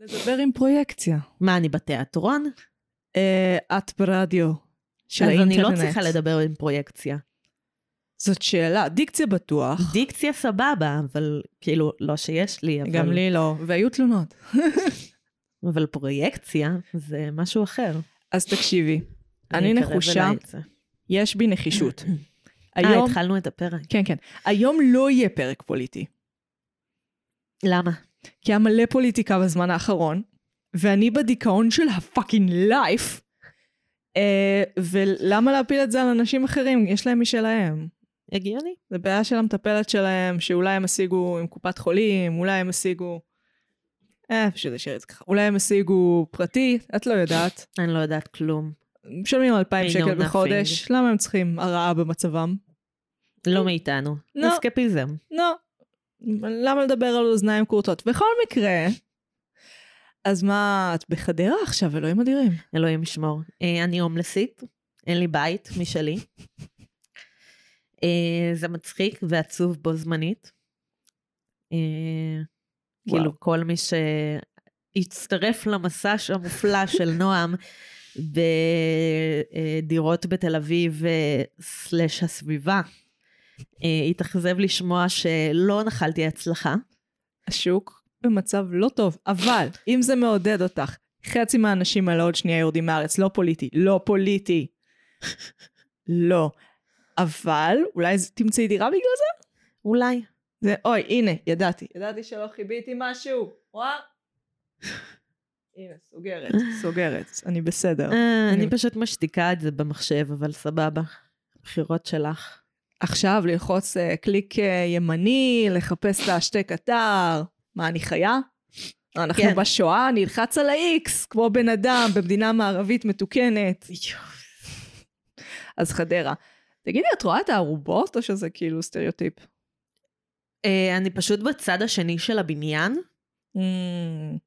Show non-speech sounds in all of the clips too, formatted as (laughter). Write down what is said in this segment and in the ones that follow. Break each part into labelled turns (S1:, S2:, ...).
S1: לדבר עם פרויקציה.
S2: מה, אני בתיאטרון?
S1: אה, את ברדיו של
S2: אז
S1: האינטרנט.
S2: אני לא צריכה לדבר עם פרויקציה.
S1: זאת שאלה, דיקציה בטוח.
S2: דיקציה סבבה, אבל כאילו, לא שיש לי, אבל...
S1: גם לי לא. והיו תלונות.
S2: אבל פרויקציה זה משהו אחר.
S1: אז תקשיביי, אני
S2: אקרב
S1: נחושה,
S2: אליי את זה.
S1: יש בי נחישות.
S2: אה,
S1: היום...
S2: התחלנו את הפרק.
S1: כן, כן. היום לא יהיה פרק פוליטי.
S2: למה?
S1: כי היה מלא פוליטיקה בזמן האחרון, ואני בדיכאון של הפאקינג לייף. אה, ולמה להפיל את זה על אנשים אחרים? יש להם משלהם.
S2: הגיוני.
S1: זה בעיה של המטפלת שלהם, שאולי הם השיגו עם קופת חולים, אולי הם השיגו... אה, פשוט להשאיר את זה ככה. אולי הם השיגו פרטי, את לא יודעת.
S2: אני לא יודעת כלום.
S1: משלמים 2,000
S2: We know
S1: שקל
S2: nothing.
S1: בחודש, למה הם צריכים הרעה במצבם?
S2: לא מאיתנו.
S1: לא.
S2: אסקפיזם.
S1: לא. למה לדבר על אוזניים כורתות? בכל מקרה... אז מה, את בחדרה עכשיו, אלוהים אדירים.
S2: אלוהים ישמור. אה, אני הומלסית, אין לי בית משלי. אה, זה מצחיק ועצוב בו זמנית. אה,
S1: וואו.
S2: כאילו כל מי שהצטרף למסע המופלא של נועם (laughs) בדירות בתל אביב אה, סלש הסביבה, אה, התאכזב לשמוע שלא נחלתי הצלחה.
S1: השוק במצב לא טוב, אבל אם זה מעודד אותך, חצי מהאנשים האלה עוד שנייה יורדים מהארץ, לא פוליטי, לא פוליטי. לא. אבל אולי זה- תמצאי דירה בגלל זה?
S2: אולי.
S1: זה, אוי, הנה, ידעתי. ידעתי שלא חיביתי משהו. וואה. הנה, סוגרת, סוגרת. אני בסדר.
S2: אה,
S1: אני-
S2: אני פשוט משתיקה את זה במחשב, אבל סבבה. בחירות שלך.
S1: עכשיו ללחוץ אה, קליק אה, ימני, לחפש את ההשתק אתר. מה, אני חיה? אנחנו
S2: כן.
S1: בשואה, נלחץ על ה-X, כמו בן אדם במדינה מערבית מתוקנת. אז חדרה. תגידי, את רואה את הארובות או שזה כאילו סטריאוטיפ?
S2: אה, אני פשוט בצד השני של הבניין,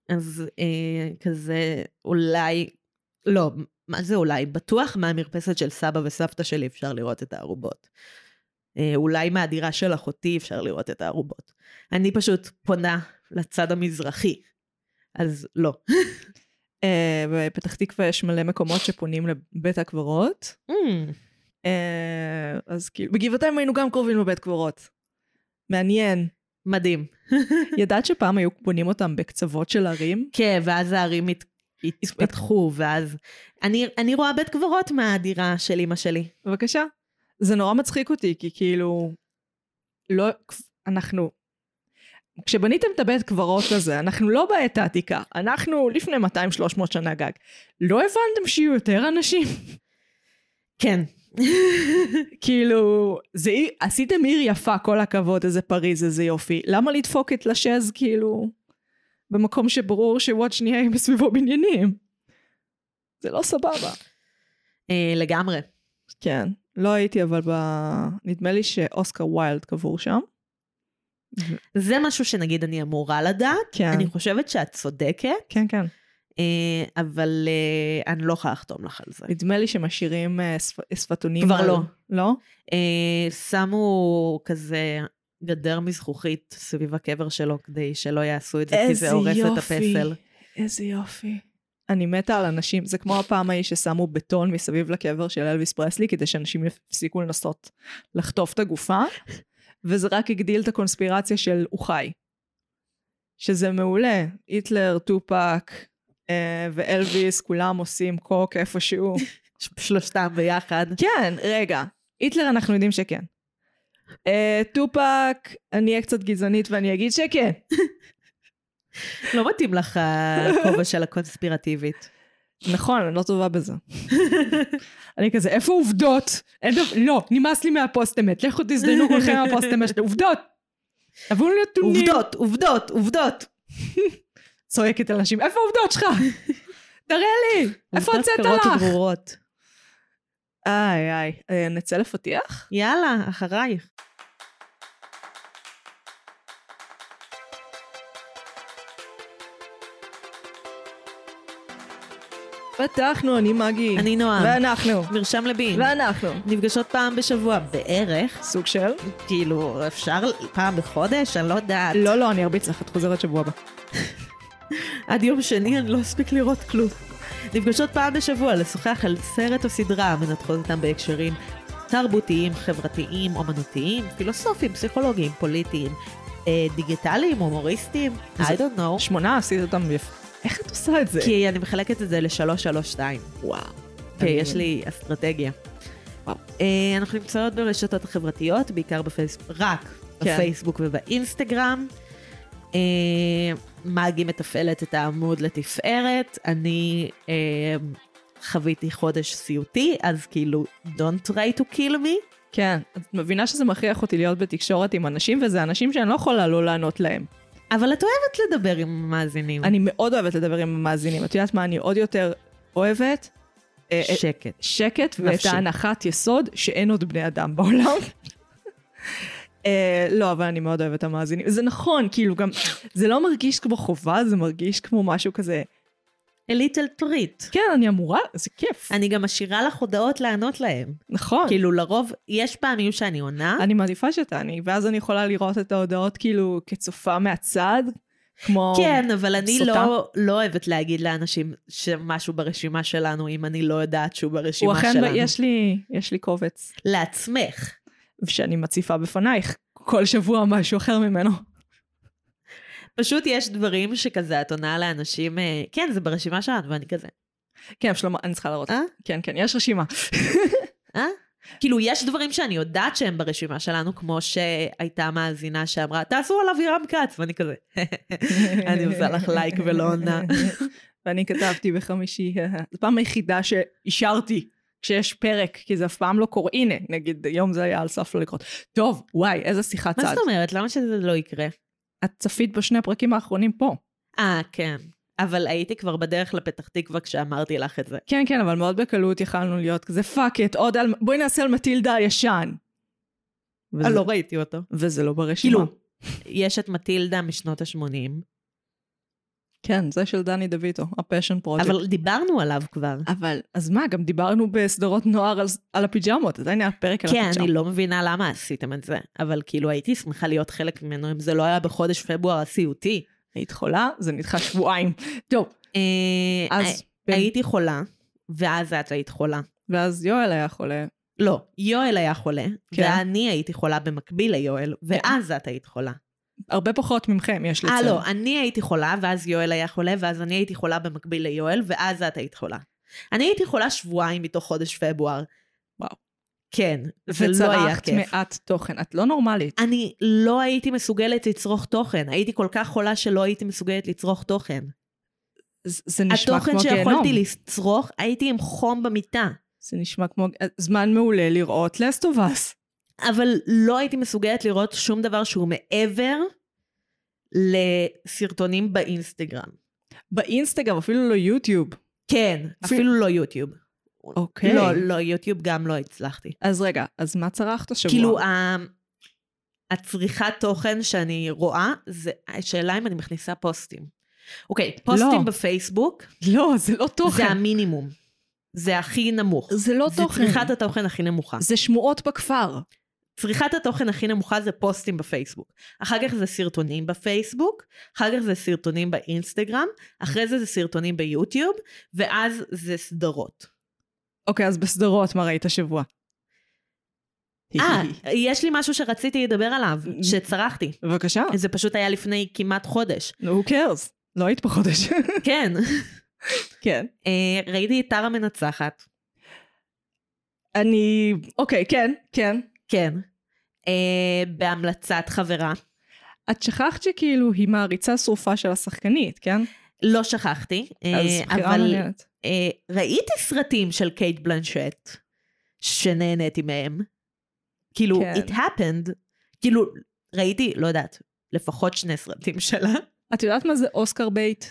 S2: אז אה, כזה אולי, לא, מה זה אולי? בטוח מהמרפסת של סבא וסבתא שלי אפשר לראות את הארובות. אה, אולי מהדירה של אחותי אפשר לראות את הארובות. אני פשוט פונה לצד המזרחי, אז לא.
S1: אה, בפתח תקווה יש מלא מקומות שפונים לבית הקברות. אה, אז כאילו, בגבעתיים היינו גם קרובים לבית קברות. מעניין.
S2: מדהים.
S1: ידעת שפעם היו בונים אותם בקצוות של ערים?
S2: כן, ואז הערים הת... התפתחו, ואז... אני, אני רואה בית קברות מהדירה של אימא שלי.
S1: בבקשה. זה נורא מצחיק אותי, כי כאילו, לא, אנחנו, כשבניתם את הבית קברות הזה, אנחנו לא בעת העתיקה, אנחנו לפני 200-300 שנה גג. לא הבנתם שיהיו יותר אנשים? (laughs)
S2: כן. (laughs)
S1: כאילו, זה, עיר- עשיתם עיר יפה, כל הכבוד, איזה פריז, איזה יופי. למה לדפוק את לשז, כאילו, במקום שברור שעוד שנייה יהיו בסביבו בניינים? זה לא סבבה.
S2: אה, לגמרי.
S1: כן, לא הייתי, אבל ב... נדמה לי שאוסקר ויילד קבור שם.
S2: זה משהו שנגיד אני אמורה לדעת.
S1: כן.
S2: אני חושבת שאת צודקת,
S1: כן, כן.
S2: אה, אבל אה, אני לא יכולה לחתום לך על זה.
S1: נדמה לי שמשאירים אה, שפ- שפתונים.
S2: כבר
S1: על-
S2: לא.
S1: לא?
S2: אה, שמו כזה גדר מזכוכית סביב הקבר שלו כדי שלא יעשו את זה, כי זה הורס את הפסל.
S1: איזה יופי. אני מתה על אנשים, זה כמו הפעם ההיא ששמו בטון מסביב לקבר של אלוויס פרסלי, כדי שאנשים יפסיקו לנסות לחטוף את הגופה, וזה רק הגדיל את הקונספירציה של הוא חי. שזה מעולה, היטלר, טופק אה, ואלוויס, כולם עושים קוק איפשהו.
S2: ש- שלושתם ביחד.
S1: כן, רגע. היטלר אנחנו יודעים שכן. אה, טופק, אני אהיה קצת גזענית ואני אגיד שכן.
S2: לא מתאים לך הכובע של הקונספירטיבית.
S1: נכון, אני לא טובה
S2: (laughs)
S1: בזה. אני כזה, איפה עובדות? אין דבר, לא, נמאס לי מהפוסט אמת, לכו תזדיינו כולכם מהפוסט אמת שלי, עובדות! תביאו לי נתונים.
S2: עובדות, עובדות, עובדות.
S1: צועקת על אנשים, איפה העובדות
S2: (laughs)
S1: שלך? תראה לי, איפה
S2: עובדות
S1: הוצאת
S2: קרות
S1: לך?
S2: וברורות.
S1: איי איי, אה, נצא לפתיח?
S2: יאללה, אחרייך.
S1: פתחנו, אני מגי.
S2: אני נועם.
S1: ואנחנו.
S2: מרשם לבין.
S1: ואנחנו.
S2: נפגשות פעם בשבוע בערך.
S1: סוג של?
S2: כאילו, אפשר פעם בחודש? אני לא יודעת.
S1: לא, לא, אני ארביץ לך, את חוזרת שבוע הבא.
S2: עד יום שני אני לא אספיק לראות כלום. נפגשות פעם בשבוע לשוחח על סרט או סדרה, מנתחות אותם בהקשרים תרבותיים, חברתיים, אומנותיים, פילוסופיים, פסיכולוגיים, פוליטיים, אה, דיגיטליים, הומוריסטיים, I
S1: זה-
S2: don't know.
S1: שמונה עשית אותם יפה. איך את עושה את זה?
S2: כי אני מחלקת את זה לשלוש, שלוש, שתיים.
S1: כן. וואו.
S2: כן,
S1: אני-
S2: יש לי אסטרטגיה.
S1: וואו.
S2: אה, אנחנו נמצאות ברשתות החברתיות, בעיקר בפייסבוק, רק
S1: כן.
S2: בפייסבוק ובאינסטגרם. אה, מגי מתפעלת את העמוד לתפארת. אני אה, חוויתי חודש סיוטי, אז כאילו, don't try to kill me.
S1: כן, את מבינה שזה מכריח אותי להיות בתקשורת עם אנשים, וזה אנשים שאני לא יכולה לא לענות להם.
S2: אבל את אוהבת לדבר עם המאזינים.
S1: אני מאוד אוהבת לדבר עם המאזינים. את יודעת מה אני עוד יותר אוהבת? אה, אה,
S2: שקט.
S1: שקט ואת
S2: נפשי.
S1: ההנחת יסוד שאין עוד בני אדם בעולם. אה, לא, אבל אני מאוד אוהבת את המאזינים. זה נכון, כאילו גם, זה לא מרגיש כמו חובה, זה מרגיש כמו משהו כזה,
S2: A little treat.
S1: כן, אני אמורה, זה כיף.
S2: אני גם משאירה לך הודעות לענות להם.
S1: נכון.
S2: כאילו, לרוב, יש פעמים שאני עונה.
S1: אני מעדיפה שתעני, ואז אני יכולה לראות את ההודעות כאילו כצופה מהצד, כמו...
S2: כן, אבל אני
S1: לא סוטה.
S2: לא, לא אוהבת להגיד לאנשים שמשהו ברשימה שלנו, אם אני לא יודעת שהוא
S1: הוא
S2: ברשימה
S1: אכן,
S2: שלנו.
S1: יש לי, יש לי קובץ,
S2: לעצמך.
S1: שאני מציפה בפנייך כל שבוע משהו אחר ממנו.
S2: פשוט יש דברים שכזה את עונה לאנשים, אה, כן, זה ברשימה שלנו, ואני כזה,
S1: כן, שלמה, אני צריכה להראות.
S2: אה?
S1: כן, כן, יש רשימה.
S2: אה? כאילו, יש דברים שאני יודעת שהם ברשימה שלנו, כמו שהייתה מאזינה שאמרה, תעשו עליו ירם כץ, ואני כזה, אני עושה לך לייק ולא (laughs) עונה.
S1: ואני כתבתי בחמישי, זו פעם היחידה שאישרתי כשיש פרק, כי זה אף פעם לא קורה. הנה, נגיד, היום זה היה על סף לא לקרות. טוב, וואי, איזה שיחת
S2: מה
S1: צד.
S2: זאת אומרת? למה שזה לא יקרה?
S1: את צפית בשני הפרקים האחרונים פה.
S2: אה, כן. אבל הייתי כבר בדרך לפתח תקווה כשאמרתי לך את זה.
S1: כן, כן, אבל מאוד בקלות יכלנו להיות כזה, פאק את, עוד על... בואי נעשה על מטילדה הישן. וזה,
S2: אה, לא ראיתי אותו.
S1: וזה לא ברשימה.
S2: כאילו, יש את מטילדה משנות ה-80,
S1: כן, זה של דני דויטו, הפשן פרויקט.
S2: אבל דיברנו עליו כבר.
S1: אבל, אז מה, גם דיברנו בסדרות נוער על, על הפיג'מות, עדיין היה פרק על
S2: כן,
S1: הפיג'מות.
S2: אני לא מבינה למה עשיתם את זה, אבל כאילו הייתי שמחה להיות חלק ממנו אם זה לא היה בחודש פברואר הסיוטי.
S1: היית חולה, זה נדחה שבועיים. טוב,
S2: אה,
S1: אז... ב-
S2: הי- הייתי חולה, ואז את היית חולה.
S1: ואז יואל היה חולה.
S2: לא, יואל היה חולה,
S1: כן.
S2: ואני הייתי חולה במקביל ליואל, ואז את היית חולה.
S1: הרבה פחות ממכם, יש
S2: אה,
S1: לציין.
S2: לא, אני הייתי חולה, ואז יואל היה חולה, ואז אני הייתי חולה במקביל ליואל, ואז את היית חולה. אני הייתי חולה שבועיים מתוך חודש פברואר.
S1: וואו.
S2: כן, זה לא היה
S1: וצרכת
S2: כיף.
S1: מעט תוכן. את לא נורמלית.
S2: אני לא הייתי מסוגלת לצרוך תוכן. הייתי כל כך חולה שלא הייתי מסוגלת לצרוך תוכן.
S1: זה זה נשמע
S2: אה, התוכן
S1: כמו גיהנום.
S2: שיכולתי לצרוך, הייתי עם חום במיטה.
S1: זה נשמע כמו... אה, זמן מעולה לראות לסטובס.
S2: אבל לא הייתי מסוגלת לראות שום דבר שהוא מעבר לסרטונים באינסטגרם.
S1: באינסטגרם, אפילו לא יוטיוב.
S2: כן,
S1: אפילו-
S2: אפילו לא יוטיוב.
S1: אוקיי.
S2: לא, לא, יוטיוב גם לא הצלחתי.
S1: אז רגע, אז מה צרכת השבוע?
S2: כאילו, ה- הצריכת תוכן שאני רואה, זה השאלה אם אני מכניסה פוסטים. אוקיי, פוסטים בפייסבוק,
S1: לא, זה לא תוכן.
S2: זה המינימום. זה הכי נמוך.
S1: זה לא
S2: זה
S1: תוכן.
S2: צריכת התוכן הכי נמוכה.
S1: זה שמועות בכפר.
S2: צריכת התוכן הכי נמוכה זה פוסטים בפייסבוק. אחר כך זה סרטונים בפייסבוק, אחר כך זה סרטונים באינסטגרם, אחרי זה זה סרטונים ביוטיוב, ואז זה
S1: (laughs)
S2: סדרות.
S1: אוקיי, אז בסדרות, מה ראית השבוע?
S2: אה, יש לי משהו שרציתי לדבר עליו, שצרחתי.
S1: (laughs) בבקשה.
S2: זה פשוט היה לפני כמעט
S1: (laughs)
S2: חודש.
S1: Who cares? לא היית בחודש. (laughs)
S2: כן.
S1: כן.
S2: אה, ראיתי את טרה מנצחת.
S1: אני... אוקיי, כן, כן.
S2: כן. אה, בהמלצת חברה.
S1: את שכחת שכאילו היא מעריצה שרופה של השחקנית, כן?
S2: לא שכחתי. אה,
S1: אז בחירה
S2: אבל-
S1: מעניינת.
S2: אה, ראיתי סרטים של קייט בלנשט שנהניתי מהם. כאילו,
S1: כן.
S2: כן. it happened. כאילו, ראיתי, לא יודעת, לפחות שני סרטים שלה. (laughs)
S1: את יודעת מה זה אוסקר בייט?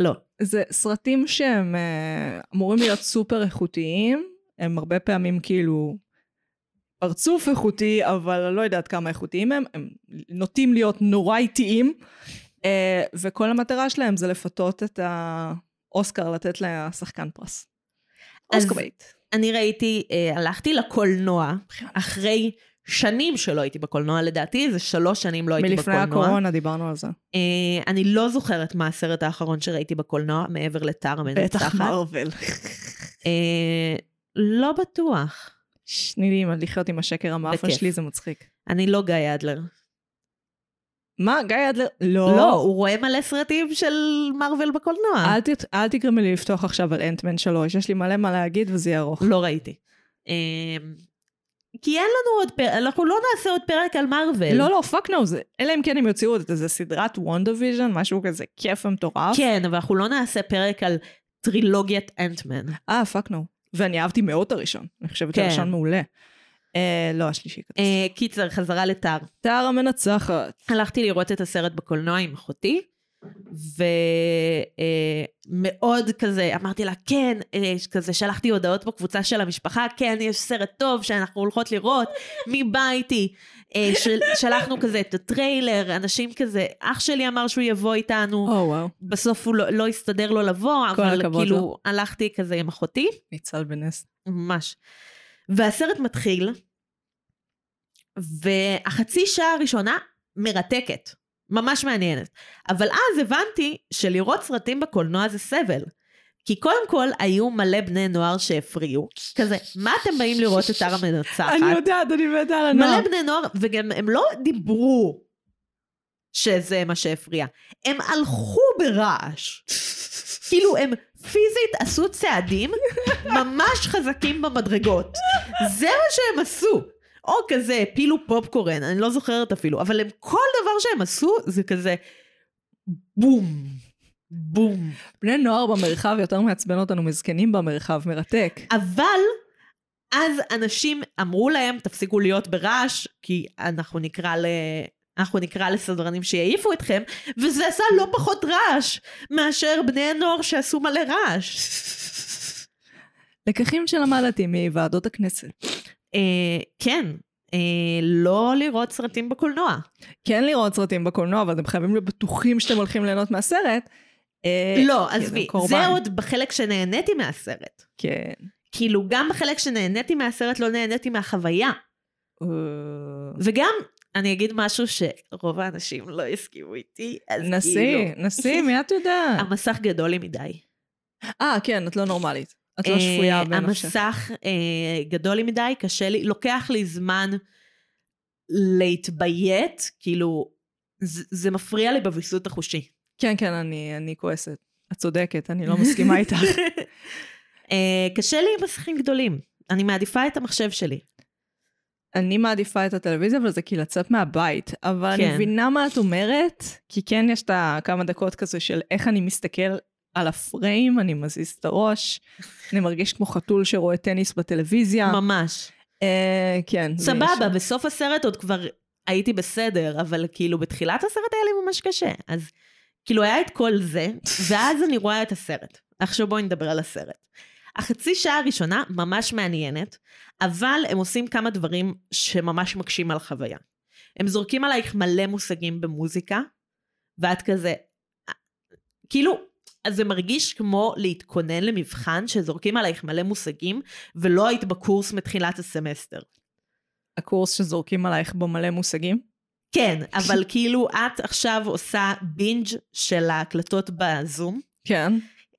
S2: לא.
S1: זה סרטים שהם אה, אמורים להיות סופר איכותיים, הם הרבה פעמים כאילו פרצוף איכותי, אבל אני לא יודעת כמה איכותיים הם, הם נוטים להיות נורא איטיים, אה, וכל המטרה שלהם זה לפתות את האוסקר, לתת לשחקן פרס.
S2: אז-
S1: אוסקר בייט.
S2: אני ראיתי, אה, הלכתי לקולנוע אחרי שנים שלא הייתי בקולנוע, לדעתי איזה שלוש שנים לא הייתי
S1: מלפני
S2: בקולנוע.
S1: הקורונה דיברנו על זה.
S2: אה, אני לא זוכרת מה הסרט האחרון שראיתי בקולנוע, מעבר לטר
S1: בטח
S2: המנצחת. (laughs)
S1: מרוויל.
S2: אה, לא בטוח.
S1: שני לי עם לחיות עם השקר המאפן
S2: בכיף.
S1: שלי, זה מצחיק.
S2: אני לא גיא אדלר.
S1: מה, גיא אדלר?
S2: לא, הוא רואה מלא סרטים של מארוול בקולנוע.
S1: אל, ת, אל תגרמי לי לפתוח עכשיו על אנטמן 3, יש לי מלא מה להגיד וזה יהיה ארוך.
S2: לא ראיתי. אמ, כי אין לנו עוד פרק, אנחנו לא נעשה עוד פרק על מארוול.
S1: לא, לא, פאק נו, זה- אלא אם כן הם יוציאו עוד איזה סדרת וונדוויז'ן, משהו כזה כיף ומטורף.
S2: כן, אבל אנחנו לא נעשה פרק על טרילוגיית אנטמן.
S1: אה, פאק נו. ואני אהבתי מאוד את הראשון, אני חושבת
S2: כן.
S1: שהראשון מעולה. אה, לא, השלישי כתוב.
S2: אה, קיצר, חזרה לטר.
S1: טהר המנצחת.
S2: הלכתי לראות את הסרט בקולנוע עם אחותי, ומאוד כזה, אמרתי לה, כן, אה, כזה שלחתי הודעות בקבוצה של המשפחה, כן, יש סרט טוב שאנחנו הולכות לראות, מי בא איתי? אה, של- שלחנו כזה את הטריילר, אנשים כזה, אח שלי אמר שהוא יבוא איתנו,
S1: או וואו.
S2: בסוף הוא לא, לא הסתדר לו לבוא,
S1: כל
S2: אבל
S1: הכבוד
S2: כאילו
S1: לו.
S2: הלכתי כזה עם אחותי,
S1: ניצל בנס.
S2: ממש. והסרט מתחיל, והחצי שעה הראשונה מרתקת, ממש מעניינת. אבל אז הבנתי שלראות סרטים בקולנוע זה סבל. כי קודם כל היו מלא בני נוער שהפריעו, כזה, מה אתם באים לראות את הר המנצחת?
S1: אני יודעת, אני מתה על הנוער.
S2: מלא בני נוער, וגם הם לא דיברו שזה מה שהפריע. הם הלכו (laughs) ברעש. כאילו הם פיזית עשו צעדים ממש חזקים במדרגות. זה מה שהם עשו. או כזה, הפילו פופקורן, אני לא זוכרת אפילו, אבל הם כל דבר שהם עשו זה כזה בום, בום.
S1: בני נוער במרחב יותר מעצבן אותנו מזקנים במרחב, מרתק.
S2: אה. אבל אז אנשים אמרו להם, תפסיקו להיות ברעש, כי אנחנו נקרא ל... אנחנו נקרא לסדרנים שיעיפו אתכם, וזה עשה לא פחות רעש מאשר בני הנוער שעשו מלא רעש.
S1: לקחים שלמדתי מוועדות הכנסת.
S2: אה, כן, אה, לא לראות סרטים בקולנוע.
S1: כן לראות סטים בקולנוע, אבל אתם חייבים להיות בטוחים שאתם הולכים ליהנות מהסרט. אה,
S2: לא,
S1: כאילו,
S2: עזבי,
S1: קורבן.
S2: זה עוד בחלק שנהניתי מהסרט.
S1: כן.
S2: כאילו, גם בחלק שנהניתי מהסרט לא נהניתי מהחוויה.
S1: אה,
S2: וגם, אני אגיד משהו שרוב האנשים לא יסכימו איתי, אז כאילו...
S1: נסי, נסי, מי את יודעת?
S2: (laughs) המסך גדול לי מדי.
S1: אה, כן, את לא נורמלית. את לא שפויה
S2: אה,
S1: בנפשך.
S2: המסך אה, גדול לי מדי, קשה לי, לוקח לי זמן להתביית, כאילו, זה, זה מפריע לי בוויסות החושי.
S1: כן, כן, אני אני כועסת. את צודקת, אני לא מסכימה
S2: (laughs)
S1: איתך.
S2: אה, קשה לי עם מסכים גדולים. אני מעדיפה את המחשב שלי.
S1: אני מעדיפה את הטלוויזיה, אבל זה כי לצאת מהבית. אבל אני
S2: כן.
S1: מבינה מה את אומרת, כי כן יש את הכמה דקות כזה של איך אני מסתכל על הפריים, אני מזיז את הראש, אני מרגיש כמו חתול שרואה טניס בטלוויזיה.
S2: ממש.
S1: אה, כן. זה
S2: סבבה,
S1: יש-
S2: בסוף הסרט עוד כבר הייתי בסדר, אבל כאילו בתחילת הסרט היה לי ממש קשה. אז כאילו היה את כל זה,
S1: (laughs)
S2: ואז אני רואה את הסרט. עכשיו בואי נדבר על הסרט. החצי שעה הראשונה ממש מעניינת, אבל הם עושים כמה דברים שממש מקשים על החוויה. הם זורקים עלייך מלא מושגים במוזיקה, ואת כזה... אה, כאילו, אז זה מרגיש כמו להתכונן למבחן, שזורקים עלייך מלא מושגים, ולא היית בקורס מתחילת הסמסטר.
S1: הקורס שזורקים עלייך בו מלא מושגים.
S2: כן, אבל כאילו את עכשיו עושה בינג' של ההקלטות בזום,
S1: כן,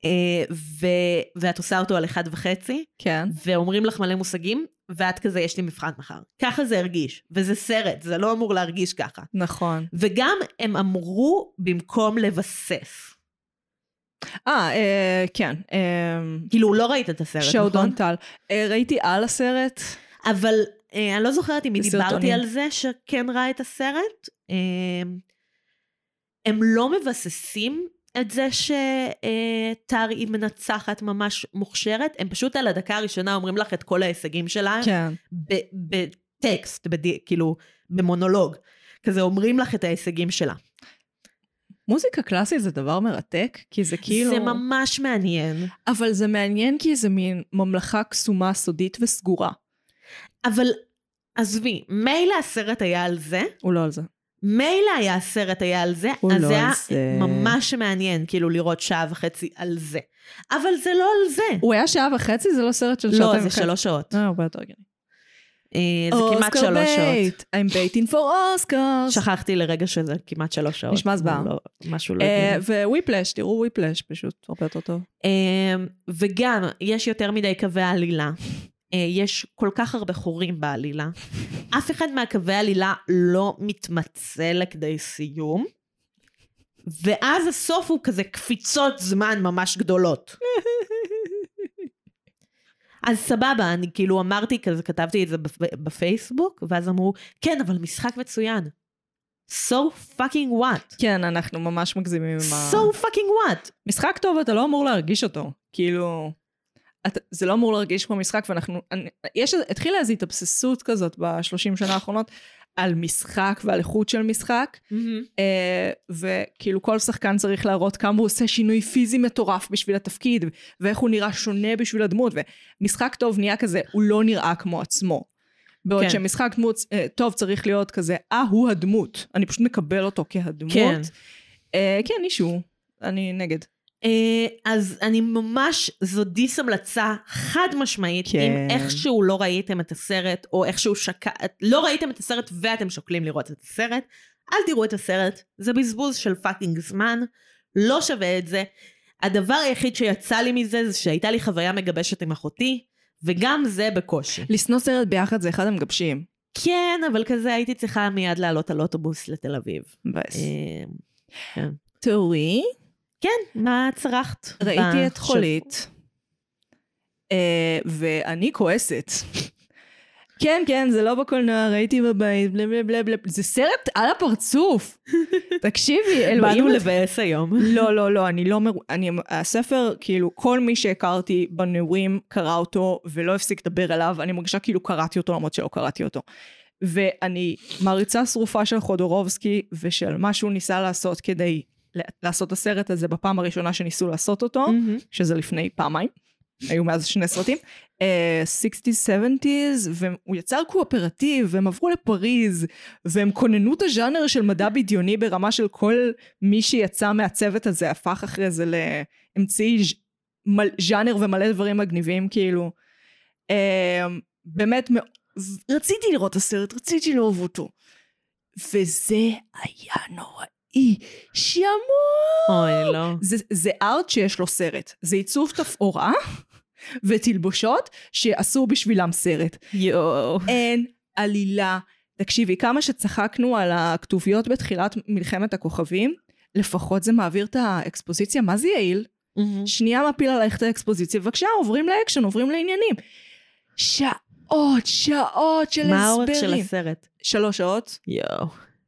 S2: אה, ו... ואת עושה אותו על אחד וחצי,
S1: כן.
S2: ואומרים לך מלא מושגים, ואת כזה, יש לי מבחן מחר. ככה זה הרגיש, וזה סרט, זה לא אמור להרגיש ככה.
S1: נכון.
S2: וגם הם אמרו במקום לבסס.
S1: אה, אה, כן. אה,
S2: כאילו, לא ראית את הסרט, נכון?
S1: שאודון טל. אה, ראיתי על הסרט.
S2: אבל אה, אני לא זוכרת אם
S1: בסרטונים.
S2: דיברתי על זה שכן ראה את הסרט. אה, הם לא מבססים את זה שטר היא מנצחת ממש מוכשרת, הם פשוט על הדקה הראשונה אומרים לך את כל ההישגים שלה
S1: כן.
S2: ב- בטקסט, בדי- כאילו במונולוג. כזה אומרים לך את ההישגים שלה.
S1: מוזיקה קלאסית זה דבר מרתק, כי זה כאילו...
S2: זה ממש מעניין.
S1: אבל זה מעניין כי זה מין ממלכה קסומה, סודית וסגורה.
S2: אבל עזבי, מילא הסרט היה על זה,
S1: הוא לא על זה.
S2: מילא היה הסרט היה על זה,
S1: הוא
S2: אז
S1: לא
S2: זה
S1: על
S2: היה
S1: זה.
S2: ממש מעניין, כאילו לראות שעה וחצי על זה. אבל זה לא על זה.
S1: הוא היה שעה וחצי? זה לא סרט של
S2: לא,
S1: שעתיים
S2: זה
S1: וחצי.
S2: שלוש שעות.
S1: אה, הרבה יותר הגיוני.
S2: אה, זה כמעט
S1: אוסקר
S2: שלוש שעות.
S1: בייט, I'm baiting for Oscars.
S2: שכחתי לרגע שזה כמעט שלוש שעות.
S1: נשמע זוועה.
S2: לא, משהו לא
S1: אה,
S2: הגיוני.
S1: וויפלש, תראו וויפלש, פשוט הרבה יותר טוב.
S2: אה, וגם, יש יותר מדי קווי עלילה. אה, יש כל כך הרבה חורים בעלילה. אף אחד מהקווי עלילה לא מתמצה לכדי סיום. ואז הסוף הוא כזה קפיצות זמן ממש גדולות. אז סבבה, אני כאילו אמרתי כזה, כתבתי את זה בפ- בפייסבוק, ואז אמרו, כן, אבל משחק מצוין. So fucking what?
S1: כן, אנחנו ממש מגזימים עם ה...
S2: So fucking what?
S1: משחק טוב, אתה לא אמור להרגיש אותו. כאילו, את, זה לא אמור להרגיש כמו משחק, ואנחנו... אני, יש, התחילה איזו התאבססות כזאת בשלושים שנה האחרונות על משחק ועל איכות של משחק, אה, וכאילו כל שחקן צריך להראות כמה הוא עושה שינוי פיזי מטורף בשביל התפקיד, ואיך הוא נראה שונה בשביל הדמות, ומשחק טוב נהיה כזה, הוא לא נראה כמו עצמו. בעוד
S2: כן.
S1: כן. שמשחק דמות אה, טוב צריך להיות כזה, אה, הוא הדמות. אני פשוט מקבל אותו כהדמות.
S2: כן.
S1: אה, כן, אישו. אני נגד.
S2: אה, אז אני ממש, זו דיס המלצה חד משמעית,
S1: כן.
S2: אם איכשהו לא ראיתם את הסרט, או איכשהו שקע... לא ראיתם את הסרט ואתם שוקלים לראות את הסרט, אל תראו את הסרט, זה בזבוז של פאקינג זמן, לא שווה את זה. הדבר היחיד שיצא לי מזה זה שהייתה לי חוויה מגבשת עם אחותי, וגם זה בקושי.
S1: לשנוא סרט ביחד זה אחד המגבשים.
S2: כן, אבל כזה הייתי צריכה מיד לעלות על אוטובוס לתל אביב.
S1: מבאס.
S2: אה,
S1: תראי,
S2: כן, מה צרחת?
S1: ראיתי את
S2: בשבוע?
S1: חולית, אה, ואני כועסת. כן, כן, זה לא בקולנוע, ראיתי בבית, בלה בלה בלה בלה, זה סרט על הפרצוף. תקשיבי, אלוהים...
S2: באנו
S1: אדירים.
S2: לבאס היום.
S1: לא, לא, לא, אני לא מר... אני... הספר, כאילו, כל מי שהכרתי בנעורים קרא אותו ולא הפסיק לדבר עליו, אני מרגישה כאילו קראתי אותו למרות שלא קראתי אותו. ואני מעריצה שרופה של חודורובסקי ושל מה שהוא ניסה לעשות כדי ל- לעשות את הסרט הזה בפעם הראשונה שניסו לעשות אותו, שזה לפני פעמיים, היו מאז שני סרטים, אה, 60's, 70's, והוא יצר קואופרטיב, והם עברו לפריז, והם כוננו את הז'אנר של מדע בדיוני ברמה של כל מי שיצא מהצוות הזה הפך אחרי זה לאמצעי ז'- מל- ז'אנר ומלא דברים מגניבים, כאילו. אה, באמת, מאוד- רציתי לראות את הסרט, רציתי לאהוב אותו. וזה היה נוראי. שימור!
S2: אוי, לא.
S1: זה, זה ארט שיש לו סרט. זה עיצוב תפאורה ותלבושות שעשו בשבילם סרט.
S2: יואו.
S1: אין עלילה. תקשיבי, כמה שצחקנו על הכתוביות בתחילת מלחמת הכוכבים, לפחות זה מעביר את האקספוזיציה. מה זה יעיל? שנייה מפיל עלייך את האקספוזיציה, בבקשה, עוברים לאקשן, עוברים לעניינים. שעות, שעות של
S2: מה האורך של
S1: הסברים.
S2: הסרט?
S1: שלוש שעות.
S2: יואו.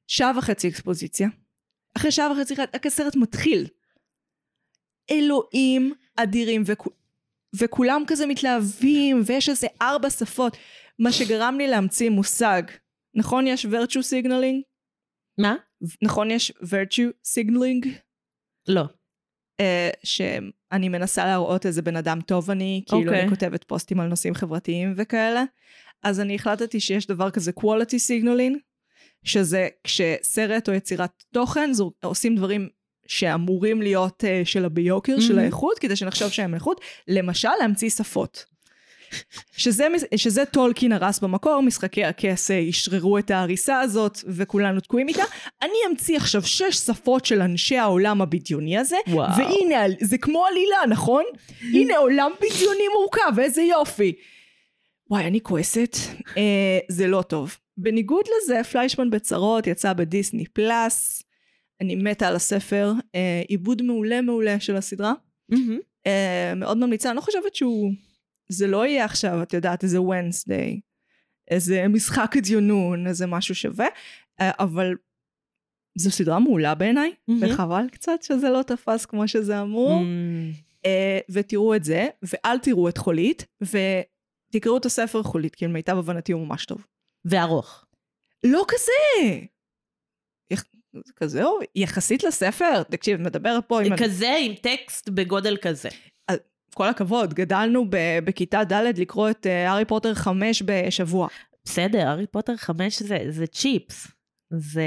S1: שעה וחצי אקספוזיציה. אחרי שעה וחצי רק הסרט מתחיל. אלוהים אדירים, וכו, וכולם כזה מתלהבים, ויש איזה ארבע שפות, מה שגרם לי להמציא מושג. נכון יש virtue signaling?
S2: מה?
S1: נכון יש virtue signaling?
S2: לא.
S1: אה, שאני מנסה להראות איזה בן אדם טוב אני, כאילו okay.
S2: אוקיי.
S1: אני כותבת פוסטים על נושאים חברתיים וכאלה. אז אני החלטתי שיש דבר כזה quality signaling, שזה כשסרט או יצירת תוכן זו, עושים דברים שאמורים להיות uh, של הביוקר, mm-hmm. של
S2: מהמם.
S1: האיכות, כדי שנחשוב שהם איכות, למשל להמציא שפות. שזה, מס- שזה טולקין הרס במקור, משחקי הכס אה, אשררו את ההריסה הזאת וכולנו תקועים איתה. אני אמציא עכשיו שש שפות של אנשי העולם הבדיוני הזה,
S2: וואו.
S1: והנה, זה כמו עלילה, נכון? הנה עולם בדיוני מורכב, איזה יופי. וואי, אני כועסת. אה, זה לא טוב. בניגוד לזה, פליישמן בצרות יצא בדיסני פלאס. אני מתה על הספר. אה, עיבוד מעולה מעולה של הסדרה. אה, מאוד ממליצה. אני לא חושבת שהוא... זה לא יהיה עכשיו, את יודעת, איזה ונסדיי. איזה משחק הדיונון, איזה משהו שווה. אה, אבל זו סדרה מעולה בעיניי,
S2: מהמם.
S1: וחבל קצת שזה לא תפס כמו שזה אמור.
S2: אמ,
S1: אה, ותראו את זה, ואל תראו את חולית, ותקראו את הספר חולית, כי למיטב הבנתי הוא ממש טוב.
S2: וארוך.
S1: לא כזה! יח... זה כזה אור, יחסית לספר, תקשיב, מדבר פה עם...
S2: כזה עם טקסט בגודל כזה.
S1: כל הכבוד, גדלנו ב... בכיתה ד' לקרוא את אה, הארי פוטר 5 בשבוע.
S2: בסדר, הארי פוטר 5 זה- זה צ'יפס. זה...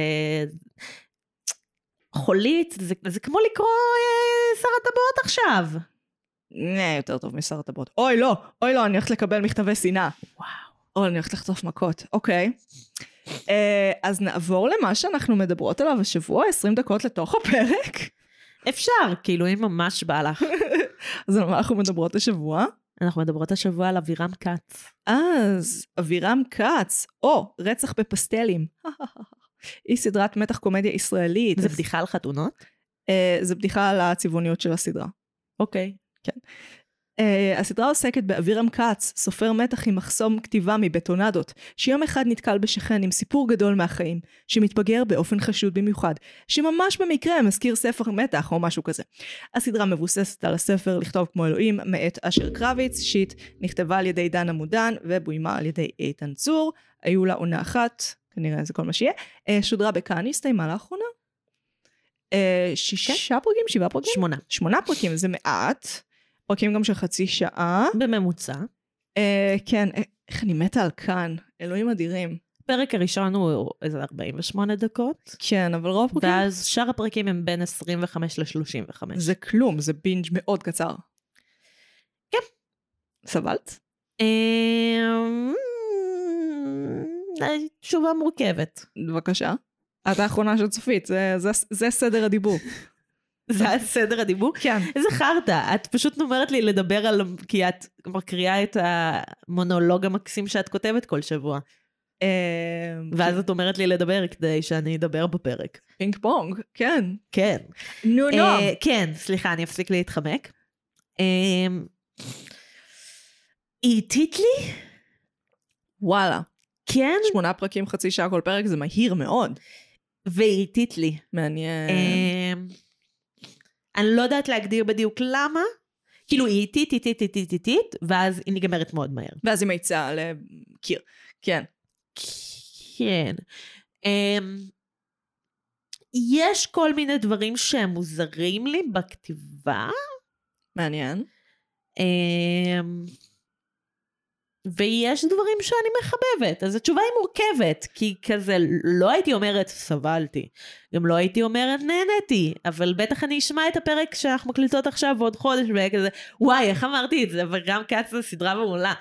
S2: חולית, זה, זה כמו לקרוא אה, שר הטבעות עכשיו.
S1: אה, נה, יותר טוב משר הטבעות. אוי, לא, אוי, לא, אני הולכת לקבל מכתבי שנאה.
S2: וואו.
S1: או, אני הולכת לחטוף מכות, אוקיי. אה, אז נעבור למה שאנחנו מדברות עליו השבוע, 20 דקות לתוך הפרק.
S2: אפשר, כאילו, אם ממש בא (laughs) לך.
S1: אז על מה אנחנו מדברות השבוע?
S2: אנחנו מדברות השבוע על אבירם כץ.
S1: אז אבירם כץ, או רצח בפסטלים. (laughs) היא סדרת מתח קומדיה ישראלית.
S2: זה
S1: אז,
S2: בדיחה על חתונות?
S1: אה, זה בדיחה על הצבעוניות של הסדרה.
S2: אוקיי.
S1: Uh, הסדרה עוסקת באבירם כץ, סופר מתח עם מחסום כתיבה מבטונדות, שיום אחד נתקל בשכן עם סיפור גדול מהחיים, שמתבגר באופן חשוד במיוחד, שממש במקרה מזכיר ספר מתח או משהו כזה. הסדרה מבוססת על הספר לכתוב כמו אלוהים מאת אשר קרביץ, שיט נכתבה על ידי דן עמודן ובוימה על ידי איתן צור, היו לה עונה אחת, כנראה זה כל מה שיהיה, אה, שודרה בכאן, הסתיימה לאחרונה. אה, שישה פרקים? שבעה פרקים?
S2: שמונה.
S1: שמונה פרקים זה מעט, פרקים גם של חצי שעה.
S2: בממוצע.
S1: אה, כן, אה, איך אני מתה על כאן, אלוהים אדירים.
S2: הפרק הראשון הוא איזה 48 דקות,
S1: כן, אבל רוב הפרקים...
S2: ואז שאר הפרקים הם בין 25 ל-35.
S1: זה כלום, זה בינג' מאוד קצר.
S2: כן.
S1: סבלת?
S2: אמ, אה, תשובה מורכבת.
S1: בבקשה. את האחרונה שצופית, זה, זה, זה סדר הדיבור.
S2: זה היה סדר הדיבור?
S1: כן.
S2: איזה חרטא, את פשוט אומרת לי לדבר על... כי את מקריאה את המונולוג המקסים שאת כותבת כל שבוע.
S1: אה,
S2: ואז את אומרת לי לדבר כדי שאני אדבר בפרק.
S1: פינג פונג, כן.
S2: כן.
S1: נו
S2: אה, כן, סליחה, אני אפסיק להתחמק. אה, היא איטית לי?
S1: וואלה.
S2: כן.
S1: שמונה פרקים, חצי שעה כל פרק, זה מהיר מאוד.
S2: והיא איטית לי.
S1: מעניין.
S2: אה, אני לא יודעת להגדיר בדיוק למה. כאילו היא איטית, איטית, איטית, איטית, ואז היא נגמרת מאוד מהר.
S1: ואז היא מאיצה לקיר. כן.
S2: כן. אמ, יש כל מיני דברים שהם מוזרים לי בכתיבה,
S1: מעניין.
S2: אמ, ויש דברים שאני מחבבת, אז התשובה היא מורכבת, כי כזה לא הייתי אומרת סבלתי, גם לא הייתי אומרת נהניתי, אבל בטח אני אשמע את הפרק שאנחנו מקליטות עכשיו עוד חודש, ואהיה כזה, וואי, איך אמרתי את זה, אבל גם כץ זו סדרה מעולה.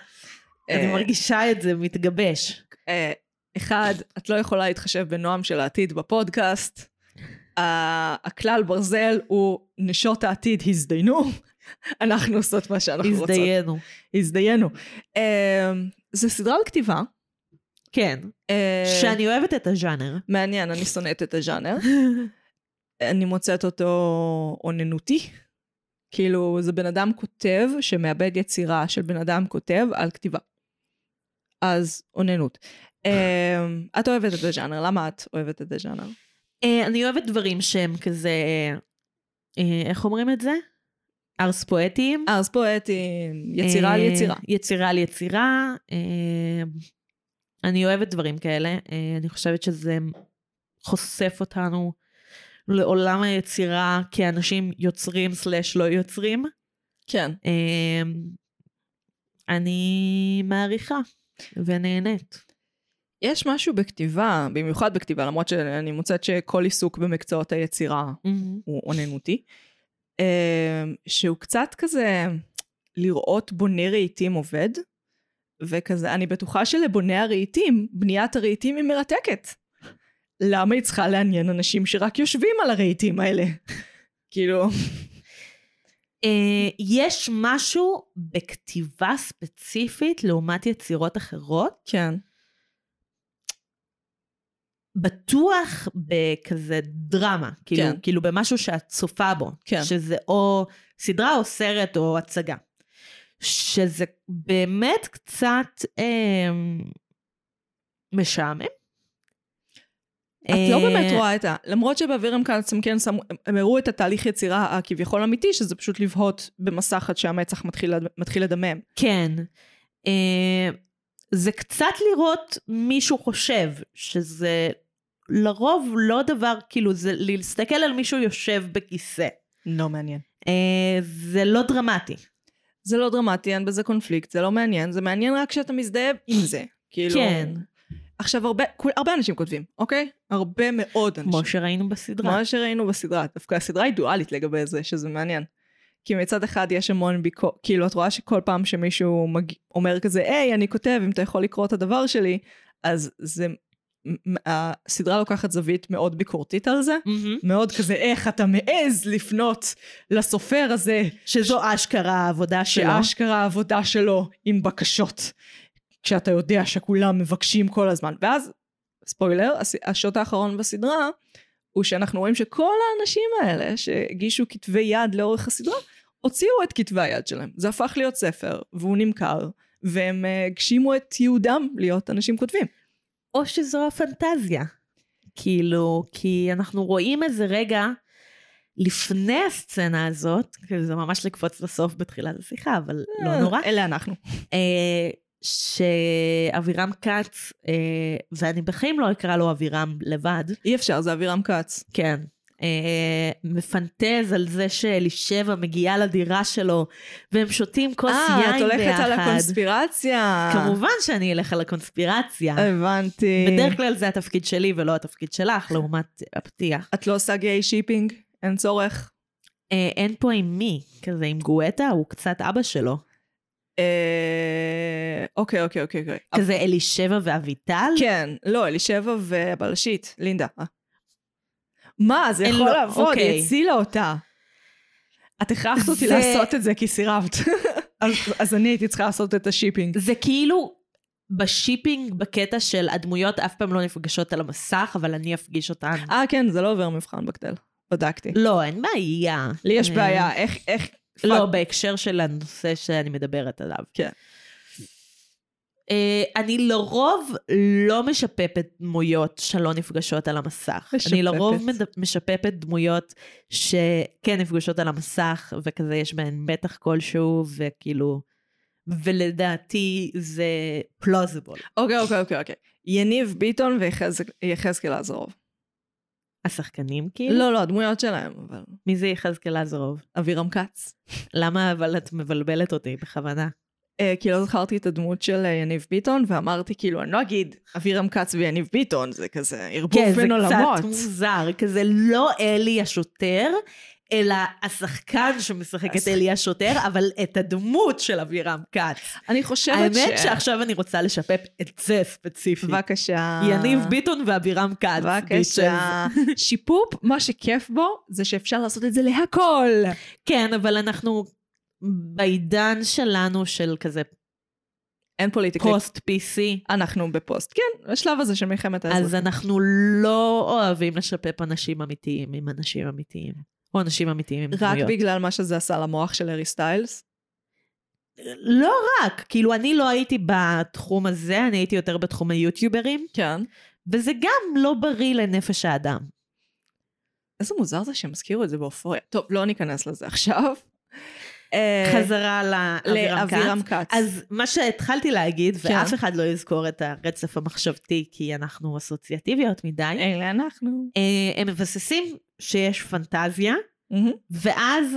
S2: אני
S1: אה,
S2: מרגישה את זה מתגבש.
S1: אה, אחד, את לא יכולה להתחשב בנועם של העתיד בפודקאסט. ה- הכלל ברזל הוא נשות העתיד הזדיינו, (laughs) אנחנו עושות מה שאנחנו רוצות.
S2: הזדיינו.
S1: הזדיינו. אה, זו סדרה על כתיבה.
S2: כן.
S1: אה,
S2: שאני אוהבת את הז'אנר.
S1: מעניין, אני שונאת את הז'אנר. אני מוצאת אותו אוננותי. כאילו, זה בן אדם כותב שמאבד יצירה של בן אדם כותב על כתיבה. אז אוננות. אמ, את אוהבת את הז'אנר, למה את אוהבת את הז'אנר?
S2: אה, אני אוהבת דברים שהם כזה, אה, איך אומרים את זה? ארס פואטיים.
S1: ארס פואטים, יצירה על
S2: אה,
S1: יצירה.
S2: יצירה על יצירה. אה, אני אוהבת דברים כאלה. אה, אני חושבת שזה חושף אותנו לעולם היצירה כאנשים יוצרים סלאש לא יוצרים.
S1: כן.
S2: אה, אני מעריכה ונהנית.
S1: יש משהו בכתיבה, במיוחד בכתיבה, למרות שאני מוצאת שכל עיסוק במקצועות היצירה הוא אוננותי, אמ, שהוא קצת כזה לראות בונה רהיטים עובד, וכזה, אני בטוחה שלבוני הרהיטים, בניית הרהיטים היא מרתקת. למה היא צריכה לעניין אנשים שרק יושבים על הרהיטים האלה? (laughs) כאילו,
S2: אה, יש משהו בכתיבה ספציפית לעומת יצירות אחרות,
S1: כן.
S2: בטוח בכזה דרמה, כאילו,
S1: כן.
S2: כאילו במשהו שאת צופה בו,
S1: כן.
S2: שזה או סדרה או סרט או הצגה, שזה באמת קצת אה, משעמם.
S1: את לא באמת
S2: אה,
S1: רואה את ה... למרות שבאווירם כץ הם כן שמו, הם- הם הראו את התהליך יצירה הכביכול אמיתי, שזה פשוט לבהות במסך עד שהמצח מתחיל, לד- מתחיל לדמם.
S2: כן. אה, זה קצת לראות מישהו חושב, שזה לרוב לא דבר, כאילו, זה להסתכל על מישהו יושב בכיסא.
S1: לא מעניין.
S2: אה, זה לא דרמטי.
S1: זה לא דרמטי, אין בזה קונפליקט, זה לא מעניין, זה מעניין רק כשאתה מזדהה עם זה. כאילו...
S2: כן.
S1: עכשיו, הרבה, כול- הרבה אנשים כותבים, אוקיי? הרבה מאוד אנשים.
S2: כמו שראינו בסדרה.
S1: כמו שראינו בסדרה. דווקא הסדרה היא דואלית לגבי זה, שזה מעניין. כי מצד אחד יש המון ביקורת, כאילו את רואה שכל פעם שמישהו מג... אומר כזה, היי, אני כותב, אם אתה יכול לקרוא את הדבר שלי, אז זה... מ- הסדרה לוקחת זווית מאוד ביקורתית על זה, מאוד כזה, איך אתה מעז לפנות לסופר הזה,
S2: שזו אשכרה העבודה שלו.
S1: שאשכרה העבודה שלו עם בקשות, כשאתה יודע שכולם מבקשים כל הזמן. ואז, ספוילר, הס- השוט האחרון בסדרה, הוא שאנחנו רואים שכל האנשים האלה שהגישו כתבי יד לאורך הסדרה, הוציאו את כתבי היד שלהם. זה הפך להיות ספר, והוא נמכר, והם אה, הגשימו את ייעודם להיות אנשים כותבים.
S2: או שזו הפנטזיה. כאילו, כי אנחנו רואים איזה רגע לפני הסצנה הזאת, כאילו זה ממש לקפוץ לסוף בתחילת השיחה, אבל לא נורא,
S1: אלה אנחנו.
S2: אה, שאבירם כץ, אה, ואני בחיים לא אקרא לו אבירם לבד,
S1: אי אפשר, זה אבירם כץ.
S2: כן. אה, מפנטז על זה שאלישבע מגיעה לדירה שלו והם שותים כוס יין ביחד.
S1: אה, את הולכת על הקונספירציה.
S2: כמובן שאני אלך על
S1: אה,
S2: הקונספירציה.
S1: הבנתי.
S2: בדרך כלל זה התפקיד שלי ולא התפקיד שלך, לעומת הפתיח.
S1: את לא עושה גיי שיפינג? אין צורך.
S2: אה, אין פה עם מי, כזה עם גואטה, הוא קצת אבא שלו.
S1: אה, אוקיי, אוקיי, אוקיי. אוקיי. אבל-
S2: כזה אלישבע ואביטל?
S1: כן, לא, אלישבע והבלשית, לינדה. אה. מה, זה
S2: אין
S1: יכול
S2: לו-
S1: לעבוד,
S2: אוקיי.
S1: היא הצילה (laughs) אותה. את הכרחת אותי
S2: זה-
S1: לעשות את זה כי (laughs) סירבת. אז- אז אני הייתי צריכה לעשות את השיפינג.
S2: זה כאילו בשיפינג, בקטע של הדמויות אף פעם לא נפגשות על המסך, אבל אני אפגיש אותן.
S1: אה, כן, זה לא עובר מבחן בקטל. בדקתי.
S2: לא, אין בעיה.
S1: לי יש
S2: אה,
S1: בעיה, איך, איך...
S2: לא,
S1: פאק.
S2: בהקשר של הנושא שאני מדברת עליו.
S1: כן.
S2: אה, אני לרוב לא משפפת דמויות שלא נפגשות על המסך.
S1: משפפת.
S2: אני לרוב מד- משפפת דמויות שכן נפגשות על המסך, וכזה יש בהן מתח כלשהו, וכאילו... ולדעתי זה פלוזיבול.
S1: אוקיי, אוקיי, אוקיי, אוקיי. יניב ביטון ויחזק- יחזקאל עזרוב.
S2: השחקנים כאילו?
S1: לא, לא, הדמויות שלהם, אבל...
S2: מי זה יחזקאל עזרוב?
S1: אבירם כץ.
S2: למה אבל את מבלבלת אותי בכוונה?
S1: אה, כי לא זכרתי את הדמות של אה, יניב ביטון, ואמרתי כאילו, אני לא אגיד אבירם כץ ויניב ביטון, זה כזה ערבוב
S2: כן, זה
S1: בין עולמות.
S2: קצת מוזר, כזה לא אלי השוטר, אלא השחקן שמשחק את
S1: השחק-
S2: אלי השוטר, אבל את הדמות של אבירם כץ.
S1: אני חושבת ש...
S2: האמת שעכשיו אני רוצה לשפף את זה ספציפית.
S1: בבקשה.
S2: יניב ביטון ואבירם כץ. ביטשז.
S1: בבקשה. שיפופ, מה שכיף בו, זה שאפשר לעשות את זה להכל.
S2: כן, אבל אנחנו בעידן שלנו של כזה
S1: אין פוליטיקלי.
S2: פוסט PC,
S1: אנחנו בפוסט. כן, השלב הזה של מלחמת
S2: אז
S1: האזרחים.
S2: אנחנו לא אוהבים לשפף אנשים אמיתיים עם אנשים אמיתיים. או אנשים אמיתיים עם
S1: רק
S2: דמויות.
S1: בגלל מה שזה עשה למוח של הארי סטיילס.
S2: לא רק, כאילו אני לא הייתי בתחום הזה, אני הייתי יותר בתחום היוטיוברים,
S1: כן.
S2: וזה גם לא בריא לנפש האדם.
S1: איזה מוזר זה שהם הזכירו את זה באופוריה. טוב, לא ניכנס לזה עכשיו. אה,
S2: חזרה לאבירם
S1: לאבירם
S2: כץ.
S1: כץ.
S2: אז מה שהתחלתי להגיד,
S1: כן.
S2: ואף אחד לא יזכור את הרצף המחשבתי, כי אנחנו אסוציאטיביות מדי,
S1: אלה אנחנו.
S2: אה, הם מבססים שיש פנטזיה, ואז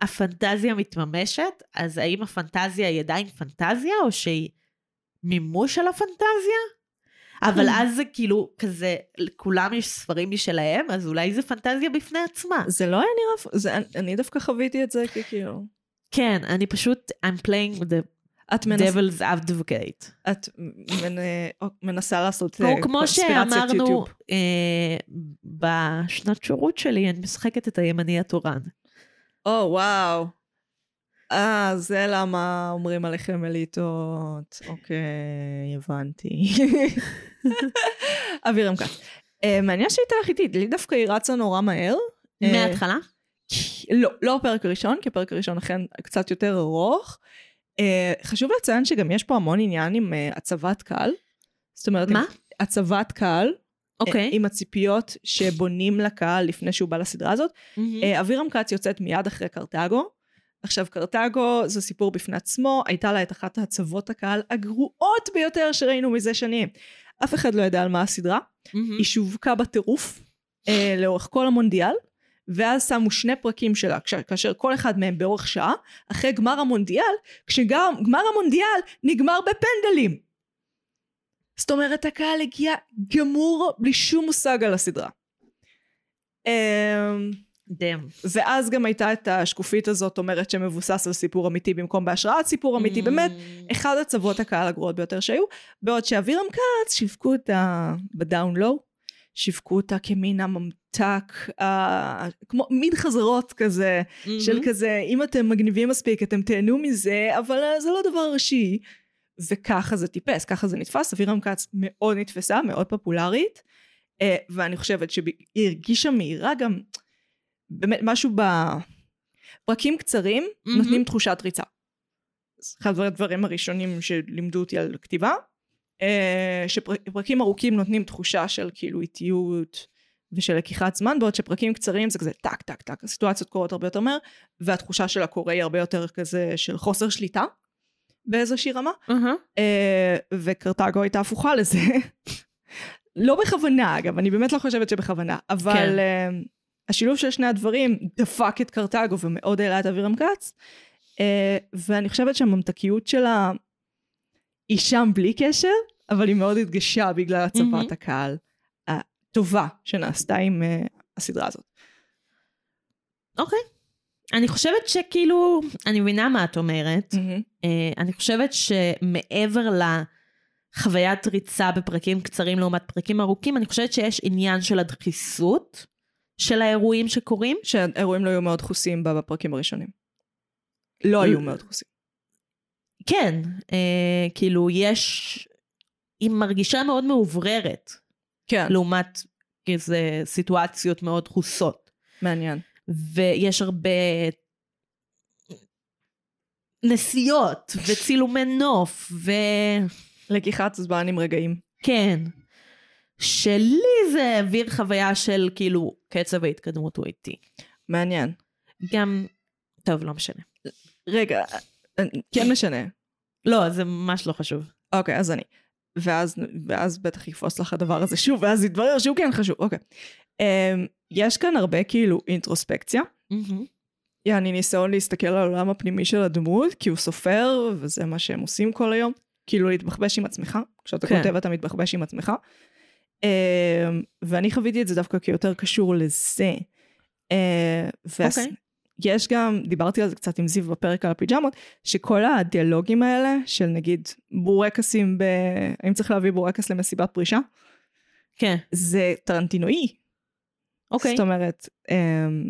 S2: הפנטזיה מתממשת, אז האם הפנטזיה היא עדיין פנטזיה, או שהיא מימוש של הפנטזיה? אבל
S1: Hmm.
S2: אז זה כאילו כזה, לכולם יש ספרים משלהם, אז אולי זה פנטזיה בפני עצמה.
S1: זה לא היה נראה, זה, אני- אני דווקא חוויתי את זה כאילו, ככאילו.
S2: כן, אני פשוט, I'm playing the
S1: את מנסה,
S2: devil's advocate.
S1: את מנ... או- מנסה לעשות אה,
S2: או כמו
S1: קונספירציית
S2: שאמרנו
S1: יוטיוב.
S2: אה, בשנת שירות שלי, אני משחקת את הימני התורן.
S1: או וואו. אה, זה למה אומרים עליכם אליטות. אוקיי, הבנתי.
S2: (laughs)
S1: אבירם כץ. אה, מעניין שהייתה לך איתי, לי דווקא היא רצה נורא מהר. אה,
S2: מההתחלה?
S1: לא, לא הפרק הראשון, כי הפרק הראשון אכן קצת יותר ארוך. אה, חשוב לציין שגם יש פה המון עניין עם אה, הצבת קהל. זאת אומרת,
S2: מה?
S1: עם הצבת קהל, כן. אה,
S2: אוקיי.
S1: עם הציפיות שבונים לקהל לפני שהוא בא לסדרה הזאת.
S2: מהמם.
S1: אה, אבירם כץ יוצאת מיד אחרי קרתגו. עכשיו, קרתגו זה סיפור בפני עצמו, הייתה לה את אחת הצוות הקהל הגרועות ביותר שראינו מזה שנים. אף אחד לא ידע על מה הסדרה,
S2: מהמם.
S1: היא שווקה בטירוף אה, לאורך כל המונדיאל, ואז שמו שני פרקים שלה, כש, כאשר כל אחד מהם באורך שעה, אחרי גמר המונדיאל, כשגמר המונדיאל נגמר בפנדלים. זאת אומרת, הקהל הגיע גמור בלי שום מושג על הסדרה. אה,
S2: דאם.
S1: ואז גם הייתה את השקופית הזאת אומרת שמבוסס על סיפור אמיתי במקום בהשראת סיפור
S2: Mm.
S1: אמיתי. באמת, אחד הצוות הקהל הגרועות ביותר שהיו, בעוד שאבירם כץ שיווקו אותה בדאונלואו, שיווקו אותה כמין הממתק, אה, כמו מין חזרות כזה, של כזה, אם אתם מגניבים מספיק אתם תהנו מזה, אבל אה, זה לא דבר ראשי. וככה זה טיפס, ככה זה נתפס, אבירם כץ מאוד נתפסה, מאוד פופולרית, אה, ואני חושבת שהיא הרגישה מהירה גם, באמת משהו בפרקים קצרים,
S2: מהמם.
S1: נותנים תחושת ריצה. זה אחד הדברים הראשונים שלימדו אותי על כתיבה, אה, שפרקים ארוכים נותנים תחושה של כאילו איטיות ושל לקיחת זמן, בעוד שפרקים קצרים זה כזה טק טק טק, הסיטואציות קורות הרבה יותר מהר, והתחושה של הקורא היא הרבה יותר כזה של חוסר שליטה באיזושהי רמה,
S2: אהה.
S1: אה, וקרתגו הייתה הפוכה לזה. (laughs) לא בכוונה אגב, אני באמת לא חושבת שבכוונה, אבל
S2: כן.
S1: אה, השילוב של שני הדברים דפק את קרתגו ומאוד העלה את אבירם כץ, אה, ואני חושבת שהממתקיות שלה היא שם בלי קשר, אבל היא מאוד התגשה בגלל
S2: מהמם.
S1: הצבת הקהל הטובה שנעשתה עם אה, הסדרה הזאת.
S2: אני חושבת שכאילו, אני מבינה מה את אומרת.
S1: Mm.
S2: אה, אני חושבת שמעבר לחוויית ריצה בפרקים קצרים לעומת פרקים ארוכים, אני חושבת שיש עניין של הדחיסות של האירועים שקורים.
S1: שהאירועים לא היו מאוד דחוסים בפרקים הראשונים. לא היו מאוד דחוסים.
S2: כן, אה, כאילו יש... היא מרגישה מאוד מאובררת,
S1: כן.
S2: לעומת איזה סיטואציות מאוד דחוסות.
S1: מעניין.
S2: ויש הרבה נסיעות וצילומי נוף, ו...
S1: לקיחת זמן עם רגעים.
S2: כן. שלי זה העביר חוויה של כאילו קצב ההתקדמות הוא איטי.
S1: מעניין.
S2: גם, טוב, לא משנה.
S1: רגע, כן משנה.
S2: לא, זה ממש לא חשוב.
S1: אוקיי, אז אני. ואז, ואז בטח יפוס לך הדבר הזה שוב, ואז יתברר שהוא כן חשוב. אוקיי. Um, יש כאן הרבה כאילו אינטרוספקציה. יעני ניסיון להסתכל על העולם הפנימי של הדמות, כי הוא סופר, וזה מה שהם עושים כל היום. כאילו להתבחבש עם עצמך. כשאתה
S2: כן.
S1: כותב אתה מתבחבש עם עצמך. Um, ואני חוויתי את זה דווקא כיותר קשור לזה. אה, והס-
S2: אוקיי.
S1: יש גם, דיברתי על זה קצת עם זיו בפרק על הפיג'מות, שכל הדיאלוגים האלה, של נגיד בורקסים ב... האם צריך להביא בורקס למסיבת פרישה?
S2: כן,
S1: זה טרנטינואי.
S2: אוקיי.
S1: זאת אומרת, אמ,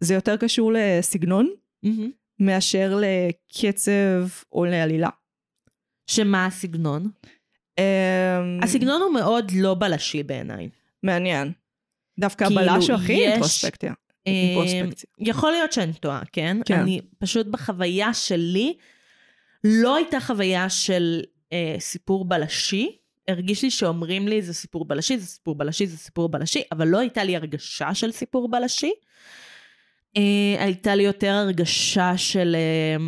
S1: זה יותר קשור לסגנון
S2: מהמם.
S1: מאשר לקצב או לעלילה.
S2: שמה הסגנון?
S1: אמ,
S2: הסגנון הוא מאוד לא בלשי בעיניי.
S1: מעניין. דווקא
S2: כאילו,
S1: הבלש הוא הכי
S2: יש-
S1: אינטרוספקציה. אינטרוספקציה.
S2: אה, יכול להיות שאני טועה, כן?
S1: כן.
S2: אני פשוט בחוויה שלי, לא הייתה חוויה של אה, סיפור בלשי. הרגיש לי שאומרים לי זה סיפור בלשי, זה סיפור בלשי, זה סיפור בלשי, אבל לא הייתה לי הרגשה של סיפור בלשי. אה, הייתה לי יותר הרגשה של אה,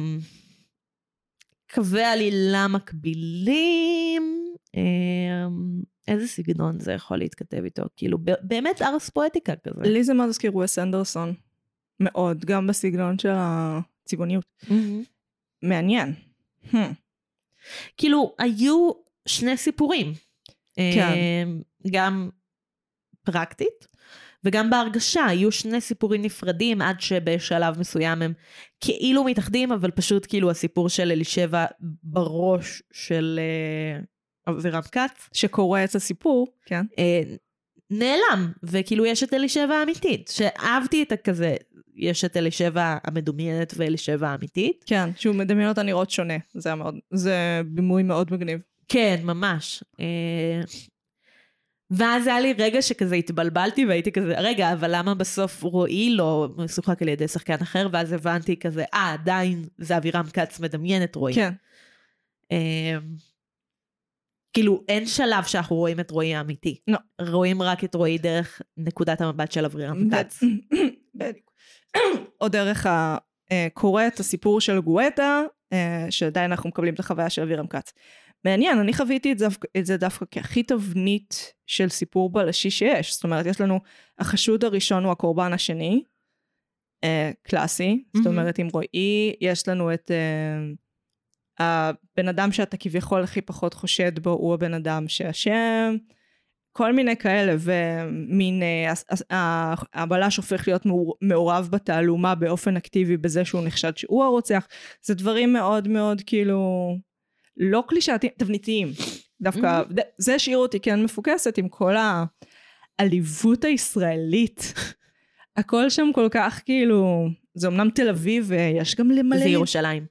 S2: קווי עלילה מקבילים. אה, איזה סגנון זה יכול להתכתב איתו? כאילו, ב- באמת ארס פואטיקה כזה.
S1: לי זה מאוד הזכיר ווס אנדרסון. מאוד, גם בסגנון של הצבעוניות.
S2: מהמם.
S1: מעניין. Hmm.
S2: כאילו, היו שני סיפורים.
S1: כן.
S2: אמ, גם פרקטית, וגם בהרגשה, היו שני סיפורים נפרדים עד שבשלב מסוים הם כאילו מתאחדים, אבל פשוט כאילו הסיפור של אלישבע בראש של אה, אבירם כץ
S1: שקורא את הסיפור, כן.
S2: אה, נעלם, וכאילו יש את אלישבע האמיתית, שאהבתי את הכזה, יש את אלישבע המדומיינת ואלישבע האמיתית.
S1: כן, שהוא מדמיין אותה נראות שונה. זה היה מאוד, זה בימוי מאוד מגניב.
S2: כן, ממש. אה, ואז היה לי רגע שכזה התבלבלתי והייתי כזה, רגע, אבל למה בסוף רועי לא משוחק על ידי שחקן אחר? ואז הבנתי כזה, אה, עדיין זה אבירם כץ מדמיין את רועי.
S1: כן.
S2: אה, כאילו, אין שלב שאנחנו רואים את רועי האמיתי.
S1: לא.
S2: רואים רק את רועי דרך נקודת המבט של אבירם כץ.
S1: (clears throat) בדיוק. (clears throat) או דרך הקורא את הסיפור של גואטה, אה, שעדיין אנחנו מקבלים את החוויה של אבירם כץ. מעניין, אני חוויתי את זה, את זה דווקא כהכי תבנית של סיפור בלשי שיש. זאת אומרת, יש לנו, החשוד הראשון הוא הקורבן השני, אה, קלאסי. זאת
S2: מהמם.
S1: אומרת, עם רועי, יש לנו את אה, הבן אדם שאתה כביכול הכי פחות חושד בו, הוא הבן אדם שאשם. כל מיני כאלה, ומין אה, הס- הס- ה- הבלש הופך להיות מעור- מעורב בתעלומה באופן אקטיבי בזה שהוא נחשד שהוא הרוצח, זה דברים מאוד מאוד כאילו לא קלישאתיים, תבניתיים. דווקא, ד- זה השאיר אותי כן מפוקסת עם כל העליבות הישראלית. הכל שם כל כך כאילו, זה אמנם תל אביב, ויש גם למלא... אה,
S2: זה ירושלים.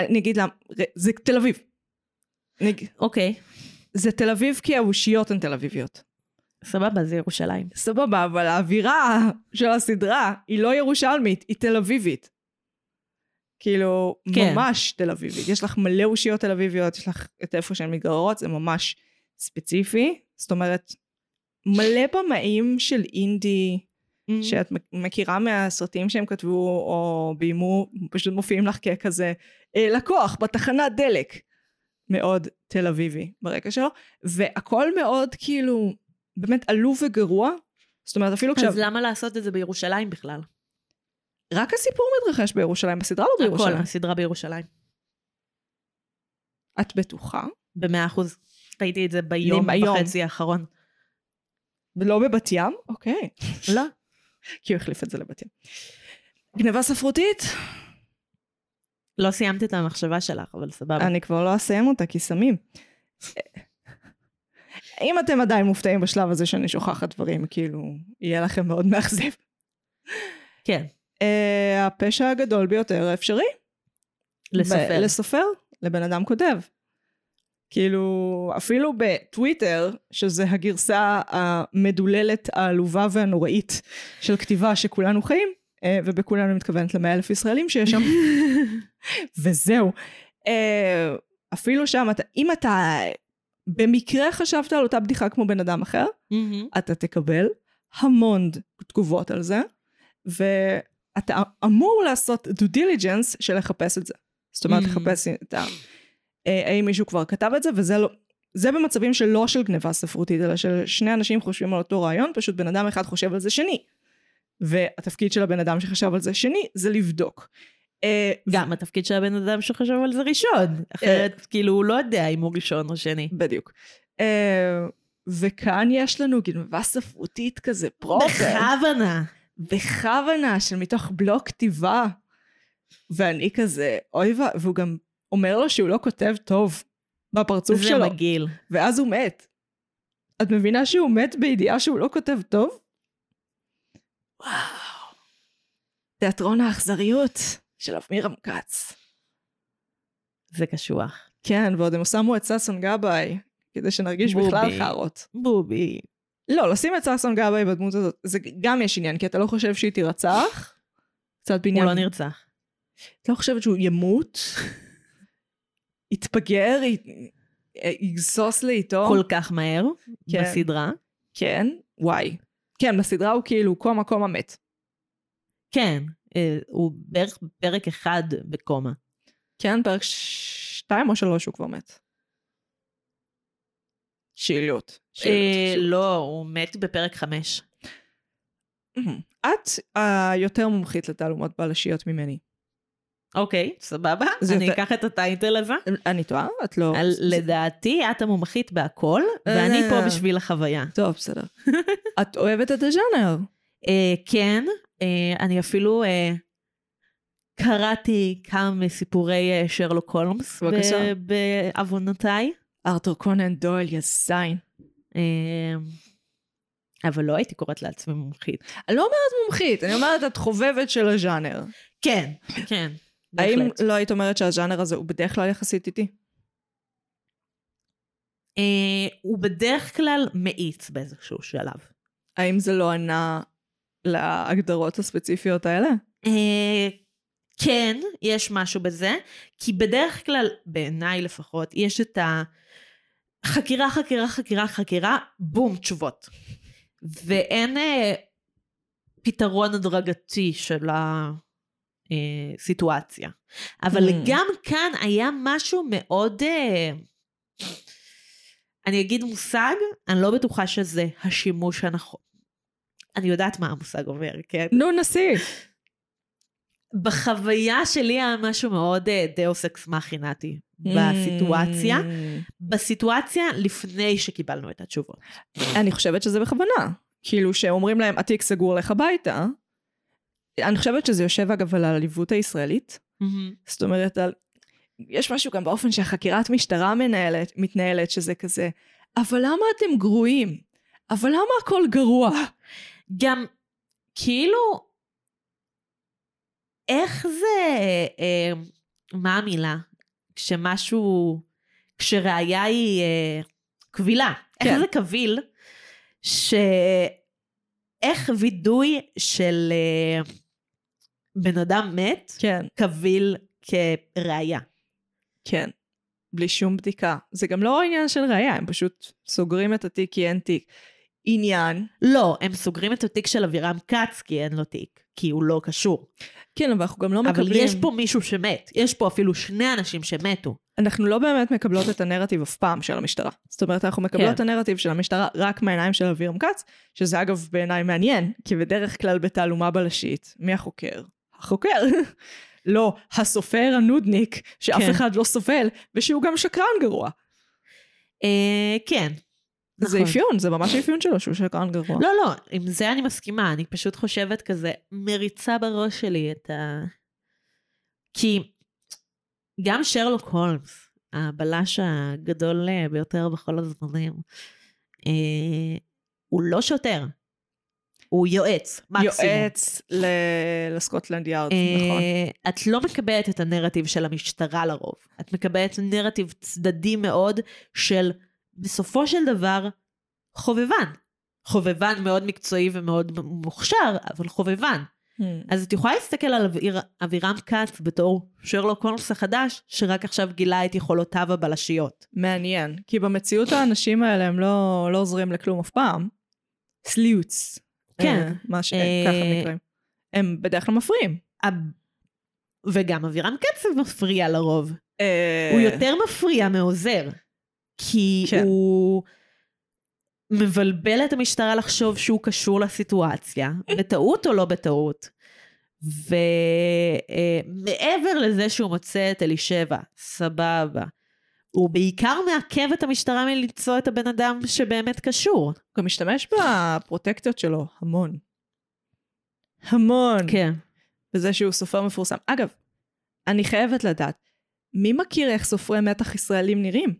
S1: אני אגיד למה, זה תל אביב. אני אגיד-
S2: אוקיי,
S1: זה תל אביב כי האושיות הן תל אביביות.
S2: סבבה, זה ירושלים.
S1: סבבה, אבל האווירה של הסדרה היא לא ירושלמית, היא תל אביבית. כאילו,
S2: כן.
S1: כן. ממש תל אביבית. יש לך מלא אושיות תל אביביות, יש לך את איפה שהן מתגוררות, זה ממש ספציפי. זאת אומרת, מלא במאים של אינדי
S2: Mm-hmm.
S1: שאת מק- מכירה מהסרטים שהם כתבו או ביימו, פשוט מופיעים לך ככזה "אה, לקוח בתחנת דלק. מאוד תל אביבי ברקע שלו, והכל מאוד כאילו באמת עלוב וגרוע. זאת אומרת אפילו
S2: אז
S1: עכשיו,
S2: למה לעשות את זה בירושלים בכלל?
S1: רק הסיפור מתרחש בירושלים, בסדרה לא
S2: הכל,
S1: בירושלים.
S2: הסדרה בירושלים.
S1: את בטוחה?
S2: במאה אחוז. ראיתי את זה ביום
S1: אני ביום.
S2: וחצי האחרון.
S1: ולא לא בבת ים? אוקיי.
S2: לא.
S1: כי הוא החליף את זה לבת ים. גניבה ספרותית?
S2: לא סיימת את המחשבה שלך, אבל סבבה.
S1: אני כבר לא אסיים אותה כי סמים. אם אתם עדיין מופתעים בשלב הזה שאני שוכחת דברים, כאילו, יהיה לכם מאוד מאכזב.
S2: כן,
S1: אה, הפשע הגדול ביותר האפשרי.
S2: לסופר. (laughs)
S1: ב- לסופר, לבן אדם כותב. כאילו, אפילו בטוויטר, שזה הגרסה המדוללת, העלובה והנוראית של כתיבה שכולנו חיים, אה, ובכולנו אני מתכוונת למאה אלף ישראלים שיש שם, וזהו. אה, אפילו שם, אתה, אם אתה במקרה חשבת על אותה בדיחה כמו בן אדם אחר,
S2: מהמם.
S1: אתה תקבל המון תגובות על זה, ואתה אמור לעשות due diligence של לחפש את זה. זאת אומרת,
S2: Mm.
S1: לחפש את ה... אה, האם מישהו כבר כתב את זה, וזה לא... זה במצבים שלא של גניבה ספרותית, אלא של שני אנשים חושבים על אותו רעיון, פשוט בן אדם אחד חושב על זה שני. והתפקיד של הבן אדם שחשב על זה שני, זה לבדוק. אה,
S2: גם התפקיד של הבן אדם שחשב על זה ראשון. אחרת, כאילו, הוא לא יודע אם הוא ראשון או שני.
S1: בדיוק. אה, וכאן יש לנו גנבה ספרותית כזה פרופר.
S2: בכוונה.
S1: בכוונה של מתוך בלוק כתיבה. ואני כזה, אוי ו... והוא גם אומר לו שהוא לא כותב טוב בפרצוף
S2: זה
S1: שלו, מג...
S2: מגעיל.
S1: ואז הוא מת. את מבינה שהוא מת בידיעה שהוא לא כותב טוב? וואו. תיאטרון האכזריות של אבמירם כץ.
S2: זה קשוח.
S1: כן, ועוד הם שמו את ששון גבאי, כדי שנרגיש
S2: בובי.
S1: בכלל חארות.
S2: בובי.
S1: לא, לשים את ששון גבאי בדמות הזאת, זה גם יש עניין, כי אתה לא חושב שהיא תירצח. קצת
S2: הוא
S1: בעניין
S2: לא נרצח.
S1: את לא חושבת שהוא ימות? יתפגר? י- יגסוס לאיתו?
S2: כל כך מהר,
S1: לא? כן.
S2: בסדרה.
S1: כן? וואי. כן, בסדרה הוא כאילו קום הקום המת.
S2: כן. אה, הוא בערך פרק אחד בקומה.
S1: כן, פרק ש- שתיים או שלוש הוא כבר מת. שאלות.
S2: אה,
S1: שאלות.
S2: לא, הוא מת בפרק חמש.
S1: את היותר מומחית לתעלומות בלשיות ממני.
S2: אוקיי, סבבה.
S1: זה
S2: אני
S1: יותר-
S2: אקח את הטייטל הזה.
S1: אני טועה? את לא...
S2: על- לדעתי, את המומחית בהכל,
S1: אה,
S2: ואני
S1: לא,
S2: פה
S1: לא.
S2: בשביל החוויה.
S1: טוב, בסדר. (laughs) את אוהבת את הז'אנר.
S2: אה, כן, אה, אני אפילו אה, קראתי כמה מסיפורי אה, שרלוק הולמס
S1: בבקשה.
S2: ב- בעוונותיי,
S1: ארתור קונן דויל, יא זין.
S2: אה, אבל לא הייתי קוראת לעצמי מומחית.
S1: אני לא אומרת מומחית, אני אומרת את חובבת של הז'אנר.
S2: כן, כן,
S1: האם
S2: בהחלט.
S1: לא היית אומרת שהז'אנר הזה הוא בדרך כלל יחסית איטי?
S2: אה, הוא בדרך כלל מאיץ באיזשהו שלב.
S1: האם זה לא ענה להגדרות הספציפיות האלה?
S2: אה, כן, יש משהו בזה, כי בדרך כלל, בעיניי לפחות, יש את החקירה, חקירה, חקירה, חקירה, בום, תשובות. ואין אה, פתרון הדרגתי של הסיטואציה. אבל
S1: Mm.
S2: גם כאן היה משהו מאוד, אה, אני אגיד מושג, אני לא בטוחה שזה
S1: Hmm.
S2: השימוש הנכון. אני יודעת מה המושג אומר, כן?
S1: נו, נשיא!
S2: בחוויה שלי היה משהו מאוד אה, דאוס אקס מכינתי בסיטואציה.
S1: Mm.
S2: בסיטואציה לפני שקיבלנו את התשובות.
S1: אני חושבת שזה בכוונה. כאילו שאומרים להם, התיק סגור לך הביתה. אני חושבת שזה יושב אגב על העליבות הישראלית. זאת אומרת, על... יש משהו גם באופן שהחקירת משטרה מנהלת, מתנהלת, שזה כזה, אבל למה אתם גרועים? אבל למה הכל גרוע?
S2: גם כאילו, איך זה, אה, מה המילה? כשמשהו, כשראיה היא אה, קבילה. איך
S1: כן.
S2: זה קביל? ש... איך וידוי של אה, בן אדם מת
S1: כן,
S2: קביל כראיה.
S1: כן. בלי שום בדיקה. זה גם לא עניין של ראייה, הם פשוט סוגרים את התיק כי אין תיק. עניין,
S2: לא, הם סוגרים את התיק של אבירם כץ כי אין לו תיק, כי הוא לא קשור.
S1: כן, אבל אנחנו גם לא
S2: אבל
S1: מקבלים...
S2: יש פה מישהו שמת, יש פה אפילו שני אנשים שמתו.
S1: אנחנו לא באמת מקבלות את הנרטיב אף פעם של המשטרה. זאת אומרת, אנחנו מקבלות
S2: כן.
S1: את הנרטיב של המשטרה רק מהעיניים של אבירם כץ, שזה אגב בעיניי מעניין, כי בדרך כלל בתעלומה בלשית, מי החוקר? החוקר. (laughs) לא, הסופר הנודניק, שאף
S2: כן.
S1: אחד לא סובל, ושהוא גם שקרן גרוע.
S2: אה, כן.
S1: זה
S2: נכון.
S1: אפיון, זה ממש אפיון שלו, שהוא שקרן גרוע.
S2: לא, לא, עם זה אני מסכימה, אני פשוט חושבת כזה, מריצה בראש שלי את ה... כי גם שרלוק הולמס, הבלש הגדול אה, ביותר בכל הזמנים, אה, הוא לא שוטר, הוא יועץ, מקסימום.
S1: יועץ ל- לסקוטלנד יארד, נכון.
S2: אה, את לא מקבלת את הנרטיב של המשטרה לרוב. את מקבלת נרטיב צדדי מאוד של בסופו של דבר חובבן. חובבן מאוד מקצועי ומאוד מוכשר, אבל חובבן.
S1: Hmm.
S2: אז את יכולה להסתכל על אביר, אבירם כץ בתור שרלוק הולמס החדש, שרק עכשיו גילה את יכולותיו הבלשיות.
S1: מעניין, כי במציאות האנשים האלה הם לא, לא עוזרים לכלום אף פעם. סליוץ.
S2: כן.
S1: אה, מה ש...
S2: אה,
S1: ככה הם נקראים. הם בדרך כלל מפריעים.
S2: הב... וגם אבירם כץ מפריע לרוב.
S1: אה,
S2: הוא יותר מפריע מעוזר. כי
S1: כן.
S2: הוא מבלבל את המשטרה לחשוב שהוא
S1: (laughs)
S2: קשור לסיטואציה, בטעות או לא בטעות. ומעבר לזה שהוא מוצא את אלישבע, סבבה. הוא בעיקר מעכב את המשטרה מלמצוא את הבן אדם שבאמת קשור.
S1: הוא גם משתמש בפרוטקציות שלו המון. המון.
S2: כן.
S1: וזה שהוא סופר מפורסם. אגב, אני חייבת לדעת, מי מכיר איך סופרי מתח ישראלים נראים?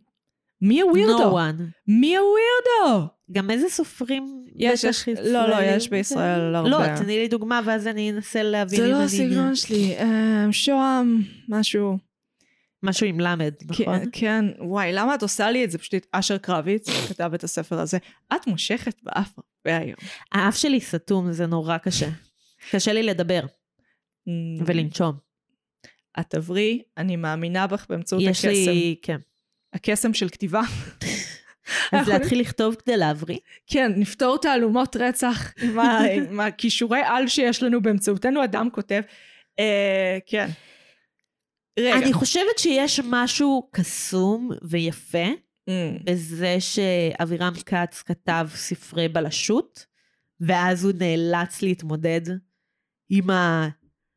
S1: מי
S2: No
S1: הווירדו?
S2: one.
S1: מי הווירדו?
S2: גם איזה סופרים
S1: יש,
S2: בטח
S1: יש- לא, לא,
S2: ישראלים?
S1: יש בישראל הרבה.
S2: לא, תני לי דוגמה ואז אני אנסה להבין
S1: זה
S2: אם
S1: לא
S2: אני-
S1: הסגנון שלי, אה, שוהם, משהו.
S2: משהו עם למד, נכון?
S1: כן, כן, וואי, למה את עושה לי את זה? פשוט אשר קרביץ כתב את הספר הזה. את מושכת באף הרבה היום.
S2: האף שלי סתום, זה נורא קשה. קשה לי לדבר ולנשום.
S1: אמ, את תעברי, אני מאמינה בך באמצעות
S2: יש
S1: הקסם.
S2: לי,
S1: (laughs)
S2: כן.
S1: הקסם של כתיבה. (laughs)
S2: אז
S1: אנחנו-
S2: להתחיל לכתוב כדי להבריא.
S1: כן, נפתור תעלומות רצח עם
S2: (laughs)
S1: ה- עם הכישורי על שיש לנו באמצעותנו, אדם כותב. אה, כן. רגע.
S2: אני חושבת שיש משהו קסום ויפה
S1: Mm,
S2: בזה שאבירם כץ כתב ספרי בלשות, ואז הוא נאלץ להתמודד עם ה...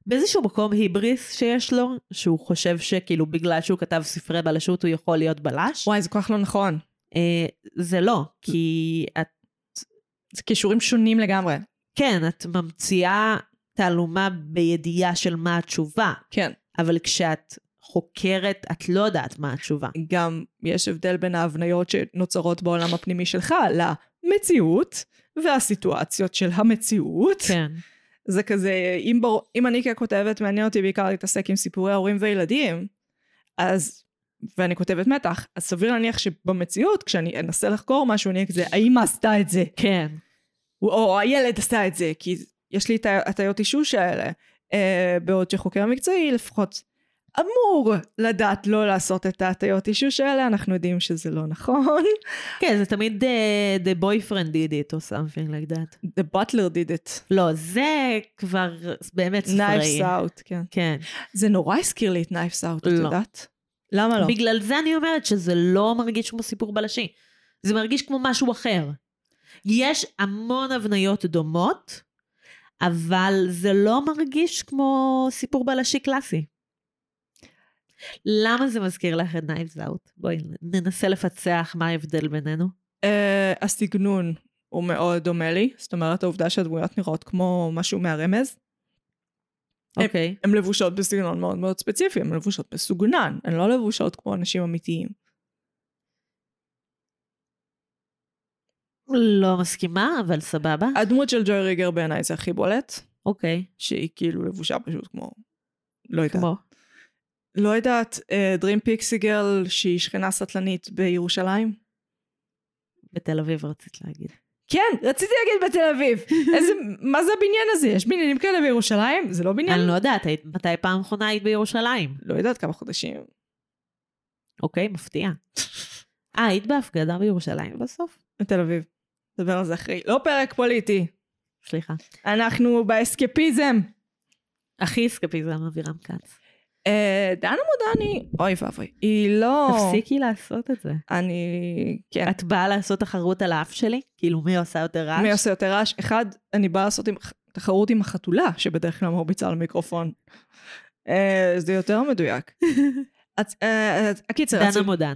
S2: באיזשהו מקום היבריס שיש לו, שהוא חושב שכאילו בגלל שהוא כתב ספרי בלשות הוא יכול להיות בלש.
S1: וואי, זה כל כך לא נכון.
S2: אה, זה לא, כי את
S1: זה כישורים שונים לגמרי.
S2: כן, את ממציאה תעלומה בידיעה של מה התשובה,
S1: כן.
S2: אבל כשאת חוקרת, את לא יודעת מה התשובה.
S1: גם יש הבדל בין ההבניות שנוצרות בעולם הפנימי שלך למציאות והסיטואציות של המציאות.
S2: כן.
S1: זה כזה, אם, בר... אם אני ככותבת מעניין אותי בעיקר להתעסק עם סיפורי ההורים וילדים, אז, ואני כותבת מתח, אז סביר להניח שבמציאות, כשאני אנסה לחקור משהו, אני אהיה כזה, האמא עשתה את זה,
S2: כן.
S1: או הילד עשה את זה, כי יש לי את ה- הטעיות אישוש האלה. אה, בעוד שחוקר מקצועי לפחות אמור לדעת לא לעשות את ההטיות אישוש האלה, אנחנו יודעים שזה לא נכון.
S2: כן, זה תמיד uh, the boyfriend did it or something like that.
S1: The butler did it.
S2: לא, זה כבר באמת ספרי.
S1: Knives out, כן.
S2: כן.
S1: זה נורא הזכיר לי את Knives out, את
S2: לא.
S1: יודעת? למה לא?
S2: בגלל זה אני אומרת שזה לא מרגיש כמו סיפור בלשי. זה מרגיש כמו משהו אחר. יש המון הבניות דומות, אבל זה לא מרגיש כמו סיפור בלשי קלאסי. למה זה מזכיר לך את Knives Out? בואי ננסה לפצח מה ההבדל בינינו.
S1: אה, הסגנון הוא מאוד דומה לי, זאת אומרת העובדה שהדמויות נראות כמו משהו מהרמז.
S2: אוקיי.
S1: הן לבושות בסגנון מאוד מאוד ספציפי, הן לבושות בסוגנן, הן לא לבושות כמו אנשים אמיתיים.
S2: לא מסכימה, אבל סבבה.
S1: הדמות של ג'וי ריגר בעיניי זה הכי בולט,
S2: אוקיי.
S1: שהיא כאילו לבושה פשוט כמו... לא יודעת.
S2: כמו.
S1: לא יודעת, אה, דרים פיקסיגל שהיא שכנה סטלנית בירושלים?
S2: בתל אביב רצית להגיד.
S1: כן, רציתי להגיד בתל (laughs) אביב. איזה, מה זה הבניין הזה? יש בניינים כאלה בירושלים? זה לא בניין?
S2: אני לא יודעת, היית- מתי פעם אחרונה היית בירושלים?
S1: לא יודעת כמה חודשים.
S2: אוקיי, מפתיע. אה, היית בהפגדה בירושלים בסוף?
S1: בתל אביב. נדבר על זה אחרי. לא פרק פוליטי.
S2: סליחה.
S1: אנחנו באסקפיזם.
S2: הכי אסקפיזם אבירם כץ.
S1: אה, דנה מודני, אוי ואבוי. היא לא...
S2: תפסיקי לעשות את זה.
S1: אני... כן.
S2: את באה לעשות תחרות על האף שלי? כאילו, מי עושה יותר רעש?
S1: מי עושה יותר רעש? אחד, אני באה לעשות עם... תחרות עם החתולה, שבדרך כלל מרביצה על מיקרופון. אה, זה יותר
S2: (laughs)
S1: מדויק. את- אה, אה, הקיצר,
S2: דנה
S1: הציב-
S2: מודן.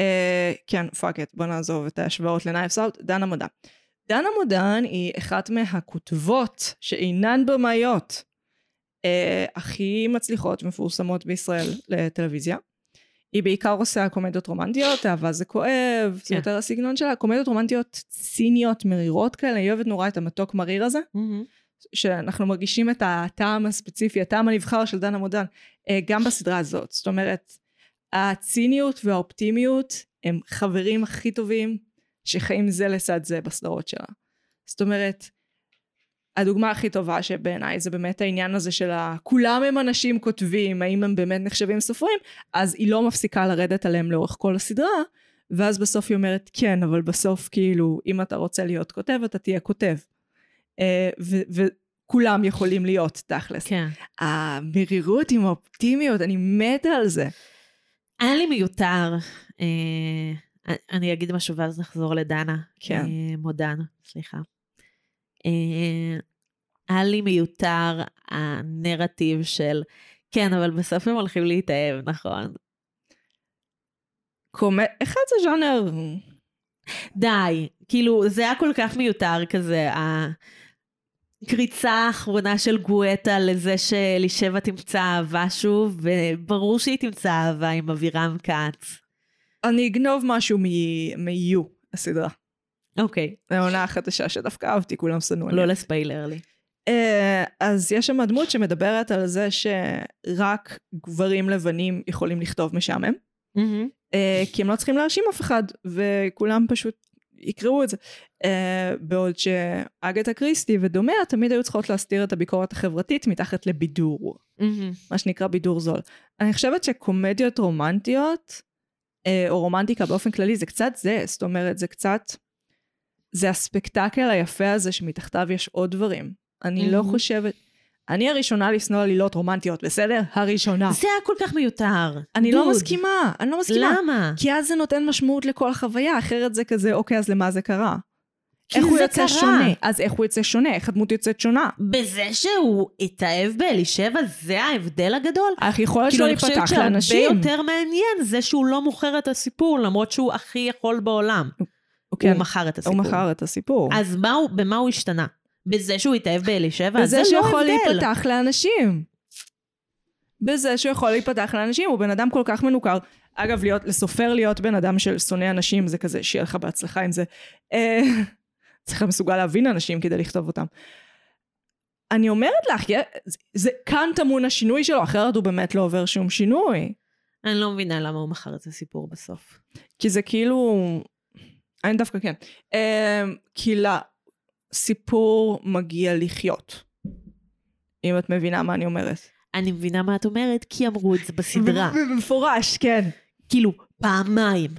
S1: אה, כן, פאק את, בוא נעזוב את ההשוואות לנייפס אאוט, דנה מודן. דנה מודן היא אחת מהכותבות שאינן במאיות אה, הכי מצליחות ומפורסמות בישראל לטלוויזיה. היא בעיקר עושה קומדיות רומנטיות, אהבה זה כואב, זה
S2: כן.
S1: יותר הסגנון שלה, קומדיות רומנטיות ציניות, מרירות כאלה, היא אוהבת נורא את המתוק מריר הזה, שאנחנו מרגישים את הטעם הספציפי, הטעם הנבחר של דנה מודן, אה, גם בסדרה הזאת. זאת אומרת, הציניות והאופטימיות הם חברים הכי טובים שחיים זה לצד זה בסדרות שלה. זאת אומרת, הדוגמה הכי טובה שבעיניי זה באמת העניין הזה של ה... כולם הם אנשים כותבים, האם הם באמת נחשבים סופרים, אז היא לא מפסיקה לרדת עליהם לאורך כל הסדרה, ואז בסוף היא אומרת, כן, אבל בסוף כאילו, אם אתה רוצה להיות כותב, אתה תהיה כותב. אה, ו- וכולם יכולים להיות, תכלס.
S2: כן.
S1: המרירות עם האופטימיות, אני מתה על זה.
S2: היה לי מיותר. אה, אני אגיד משהו ואז נחזור לדנה.
S1: כן.
S2: אה, מודן, סליחה. אה, היה לי מיותר הנרטיב של, כן, אבל בסוף הם הולכים להתאהב, נכון?
S1: קומד... אחד זה ז'אנר...
S2: די. כאילו, זה היה כל כך מיותר כזה, הקריצה האחרונה של גואטה לזה שאלישבע תמצא אהבה שוב, וברור שהיא תמצא אהבה עם אבירם כץ.
S1: אני אגנוב משהו מ- מ-You, הסדרה.
S2: אוקיי,
S1: העונה החדשה שדווקא אהבתי, כולם שנאו עליה.
S2: לא לספיילר לי.
S1: אה, אז יש שם דמות שמדברת על זה שרק גברים לבנים יכולים לכתוב משעמם, אה, כי הם לא צריכים להרשים אף אחד, וכולם פשוט יקראו את זה. אה, בעוד שאגתה קריסטי ודומיה תמיד היו צריכות להסתיר את הביקורת החברתית מתחת לבידור. מה שנקרא בידור זול. אני חושבת שקומדיות רומנטיות, אה, או רומנטיקה באופן כללי, זה קצת זה, זאת אומרת, זה קצת... זה הספקטקל היפה הזה שמתחתיו יש עוד דברים. אני לא
S2: Mhm.
S1: חושבת... אני הראשונה לשנוא עלילות רומנטיות, בסדר? הראשונה.
S2: אה. זה היה כל כך מיותר.
S1: אני לא
S2: דוד,
S1: מסכימה, אני לא מסכימה.
S2: למה?
S1: כי אז זה נותן משמעות לכל החוויה, אחרת זה כזה, אוקיי, אז למה זה קרה?
S2: כי
S1: איך הוא
S2: זה
S1: יוצא
S2: קרה.
S1: שונה? אז איך הוא יוצא שונה? איך הדמות יוצאת שונה?
S2: בזה שהוא התאהב באלישבע, זה ההבדל הגדול?
S1: היכולת
S2: כאילו,
S1: שלו
S2: אני חושבת
S1: להיפתח
S2: שהרבה
S1: לאנשים.
S2: יותר מעניין זה שהוא לא מוכר את הסיפור, למרות שהוא הכי יכול בעולם.
S1: אוקיי,
S2: הוא מכר את
S1: הוא
S2: הסיפור.
S1: מכר את הסיפור.
S2: אז מה הוא- במה הוא השתנה? בזה שהוא התאהב באלישבע?
S1: בזה
S2: זה
S1: שהוא
S2: לא
S1: יכול
S2: הבדל.
S1: להיפתח לאנשים. בזה שהוא יכול להיפתח לאנשים, הוא בן אדם כל כך מנוכר. אגב, להיות, לסופר להיות בן אדם של שונא אנשים, זה כזה, שיהיה לך בהצלחה עם זה. אה, (laughs) צריך להיות מסוגל להבין אנשים כדי לכתוב אותם. אני אומרת לך, יה- זה, זה כאן טמון השינוי שלו, אחרת הוא באמת לא עובר שום שינוי.
S2: אני לא מבינה למה הוא מכר את הסיפור בסוף.
S1: כי זה כאילו... אני דווקא כן. אה, כי לסיפור מגיע לחיות. אם את מבינה מה אני אומרת.
S2: אני מבינה מה את אומרת, כי אמרו את זה
S1: (laughs)
S2: בסדרה.
S1: במפורש, כן.
S2: כאילו, פעמיים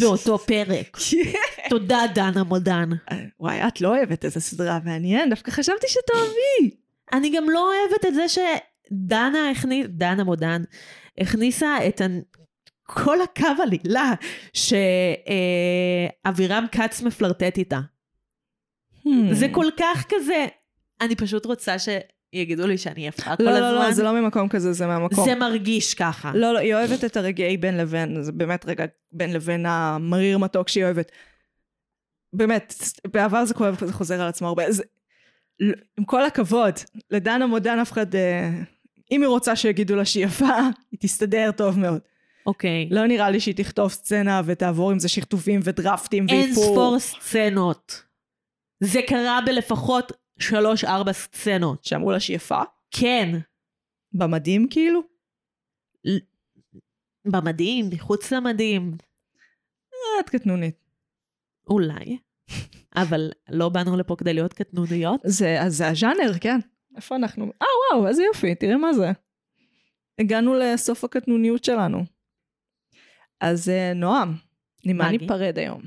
S2: באותו
S1: (laughs)
S2: פרק.
S1: כן.
S2: תודה, דנה מודן.
S1: וואי, את לא אוהבת איזה סדרה, מעניין, דווקא חשבתי שתאהבי.
S2: אני גם לא אוהבת את זה שדנה הכניס, דנה מודן, הכניסה את ה... כל הקו עלילה
S1: Mm. Hmm.
S2: שאבירם כץ מפלרטט איתה. זה כל כך כזה, אני פשוט רוצה שיגידו לי שאני יפה כל
S1: לא,
S2: הזמן.
S1: לא, לא, זה לא ממקום כזה, זה מהמקום.
S2: זה מרגיש ככה.
S1: לא, לא, היא אוהבת את הרגעי בין לבין, זה באמת רגע בין לבין המריר מתוק שהיא אוהבת. באמת, בעבר זה כואב, זה חוזר על עצמו הרבה. זה, לא, עם כל הכבוד, לדנה מודן אף אחד, אה, אם היא רוצה שיגידו לה שהיא יפה, היא תסתדר טוב מאוד.
S2: אוקיי.
S1: לא נראה לי שהיא תכתוב סצנה ותעבור עם זה שכתובים ודרפטים ואיפור.
S2: אין ספור סצנות. זה קרה בלפחות שלוש-ארבע סצנות.
S1: שאמרו לה שהיא יפה,
S2: כן.
S1: במדים כאילו.
S2: במדים, מחוץ למדים.
S1: אה, את קטנונית.
S2: אולי. (laughs) אבל לא באנו לפה כדי להיות קטנוניות.
S1: זה, אז זה הז'אנר, כן. איפה אנחנו? אה, וואו, איזה יופי, תראה מה זה. הגענו לסוף הקטנוניות שלנו. אז אה, נועם, ממה
S2: מגי.
S1: ניפרד היום?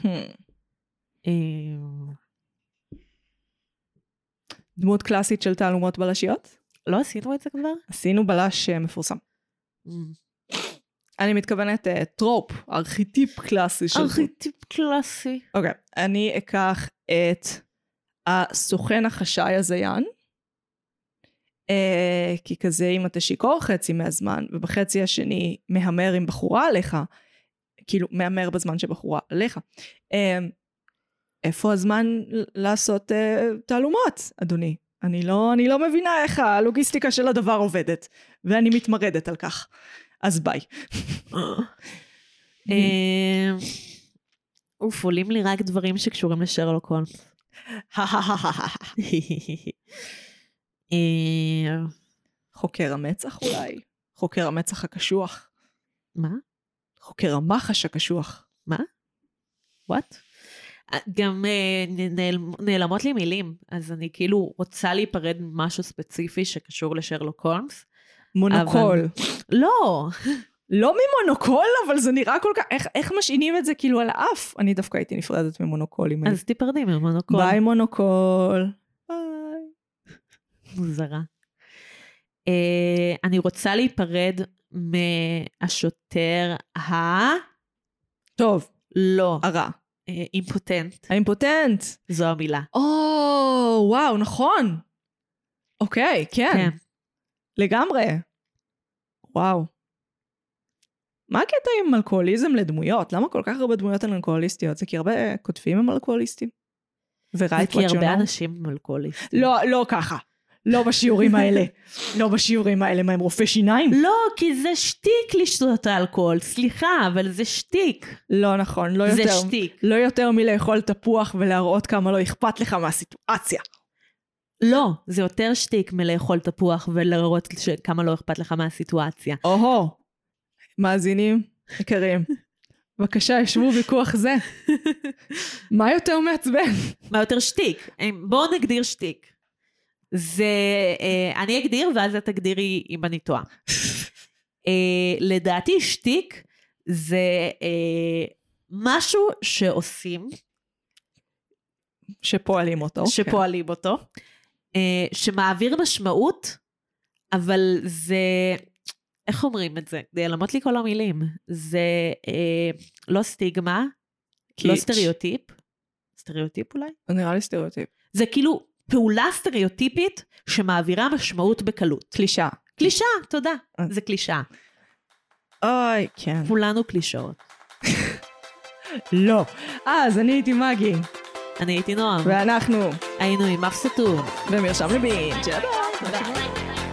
S1: Hmm.
S2: אה,
S1: דמות קלאסית של תעלומות בלשיות?
S2: לא עשינו את זה כבר?
S1: עשינו בלש אה, מפורסם. אני מתכוונת אה, טרופ, ארכיטיפ קלאסי של... דמות.
S2: ארכיטיפ קלאסי.
S1: אוקיי, okay, אני אקח את הסוכן החשאי הזיין, אה, כי כזה אם אתה שיכור חצי מהזמן, ובחצי השני מהמר עם בחורה עליך, כאילו מהמר בזמן שבחורה עליך. אה, איפה הזמן ל- לעשות אה, תעלומות, אדוני? אני לא, אני לא מבינה איך הלוגיסטיקה של הדבר עובדת, ואני מתמרדת על כך. אז ביי.
S2: אה, אוף, עולים לי רק דברים שקשורים לשרלוק הולמס. (laughs) אה,
S1: חוקר המצח אולי? חוקר המצח הקשוח?
S2: מה?
S1: חוקר המחש הקשוח.
S2: וואט? גם אה, נ- נעל- נעלמות לי מילים, אז אני כאילו רוצה להיפרד ממשהו ספציפי שקשור לשרלוק הולמס.
S1: מונוקול. אבל...
S2: לא,
S1: לא ממונוקול, אבל זה נראה כל כך... איך, איך משעינים את זה כאילו על האף? אני דווקא הייתי נפרדת ממונוקול אם אני...
S2: אז תיפרדי ממונוקול.
S1: ביי מונוקול. ביי.
S2: מוזרה. אה, אני רוצה להיפרד מהשוטר ה...
S1: טוב,
S2: לא.
S1: הרע.
S2: אה, אימפוטנט,
S1: האימפוטנט.
S2: זו המילה.
S1: או, וואו, נכון. אוקיי, כן.
S2: כן.
S1: לגמרי. וואו. מה הקטע עם אלכוהוליזם לדמויות? למה כל כך הרבה דמויות הן אלכוהוליסטיות? זה כי הרבה כותבים הם אלכוהוליסטים.
S2: זה
S1: ורייט
S2: כי הרבה אנשים הם אלכוהוליסטים.
S1: לא, לא ככה. לא בשיעורים האלה. לא בשיעורים האלה. מה, הם רופאי שיניים?
S2: לא, כי זה שטיק לשתות אלכוהול, סליחה, אבל זה שטיק.
S1: לא נכון, לא
S2: זה
S1: יותר.
S2: שטיק.
S1: לא יותר מלאכול תפוח ולהראות כמה לא אכפת לך מהסיטואציה.
S2: לא, זה יותר שטיק מלאכול תפוח ולהראות ש- כמה לא אכפת לך מהסיטואציה.
S1: או-הו. מאזינים יקרים, בבקשה, ישבו ויכוח זה. מה יותר מעצבן?
S2: מה יותר שטיק? אה, בואו נגדיר שטיק. זה, אה, אני אגדיר ואז את תגדירי אם אני טועה. אה, לדעתי שטיק זה אה, משהו שעושים
S1: שפועלים אותו. אוקיי.
S2: שפועלים אותו, אה, שמעביר משמעות, אבל זה, איך אומרים את זה? נעלמות לי כל המילים. זה אה, לא סטיגמה,
S1: קיץ'.
S2: לא סטריאוטיפ, סטריאוטיפ אולי?
S1: נראה לי סטריאוטיפ.
S2: זה כאילו פעולה סטריאוטיפית שמעבירה משמעות בקלות.
S1: קלישאה.
S2: קלישאה, תודה.
S1: אה.
S2: זה קלישאה.
S1: אוי, כן.
S2: כולנו קלישאות.
S1: לא. אז אני הייתי מגי,
S2: אני הייתי נועם,
S1: ואנחנו
S2: היינו עם אף סתום.
S1: במרשם לבין. שלום. תודה.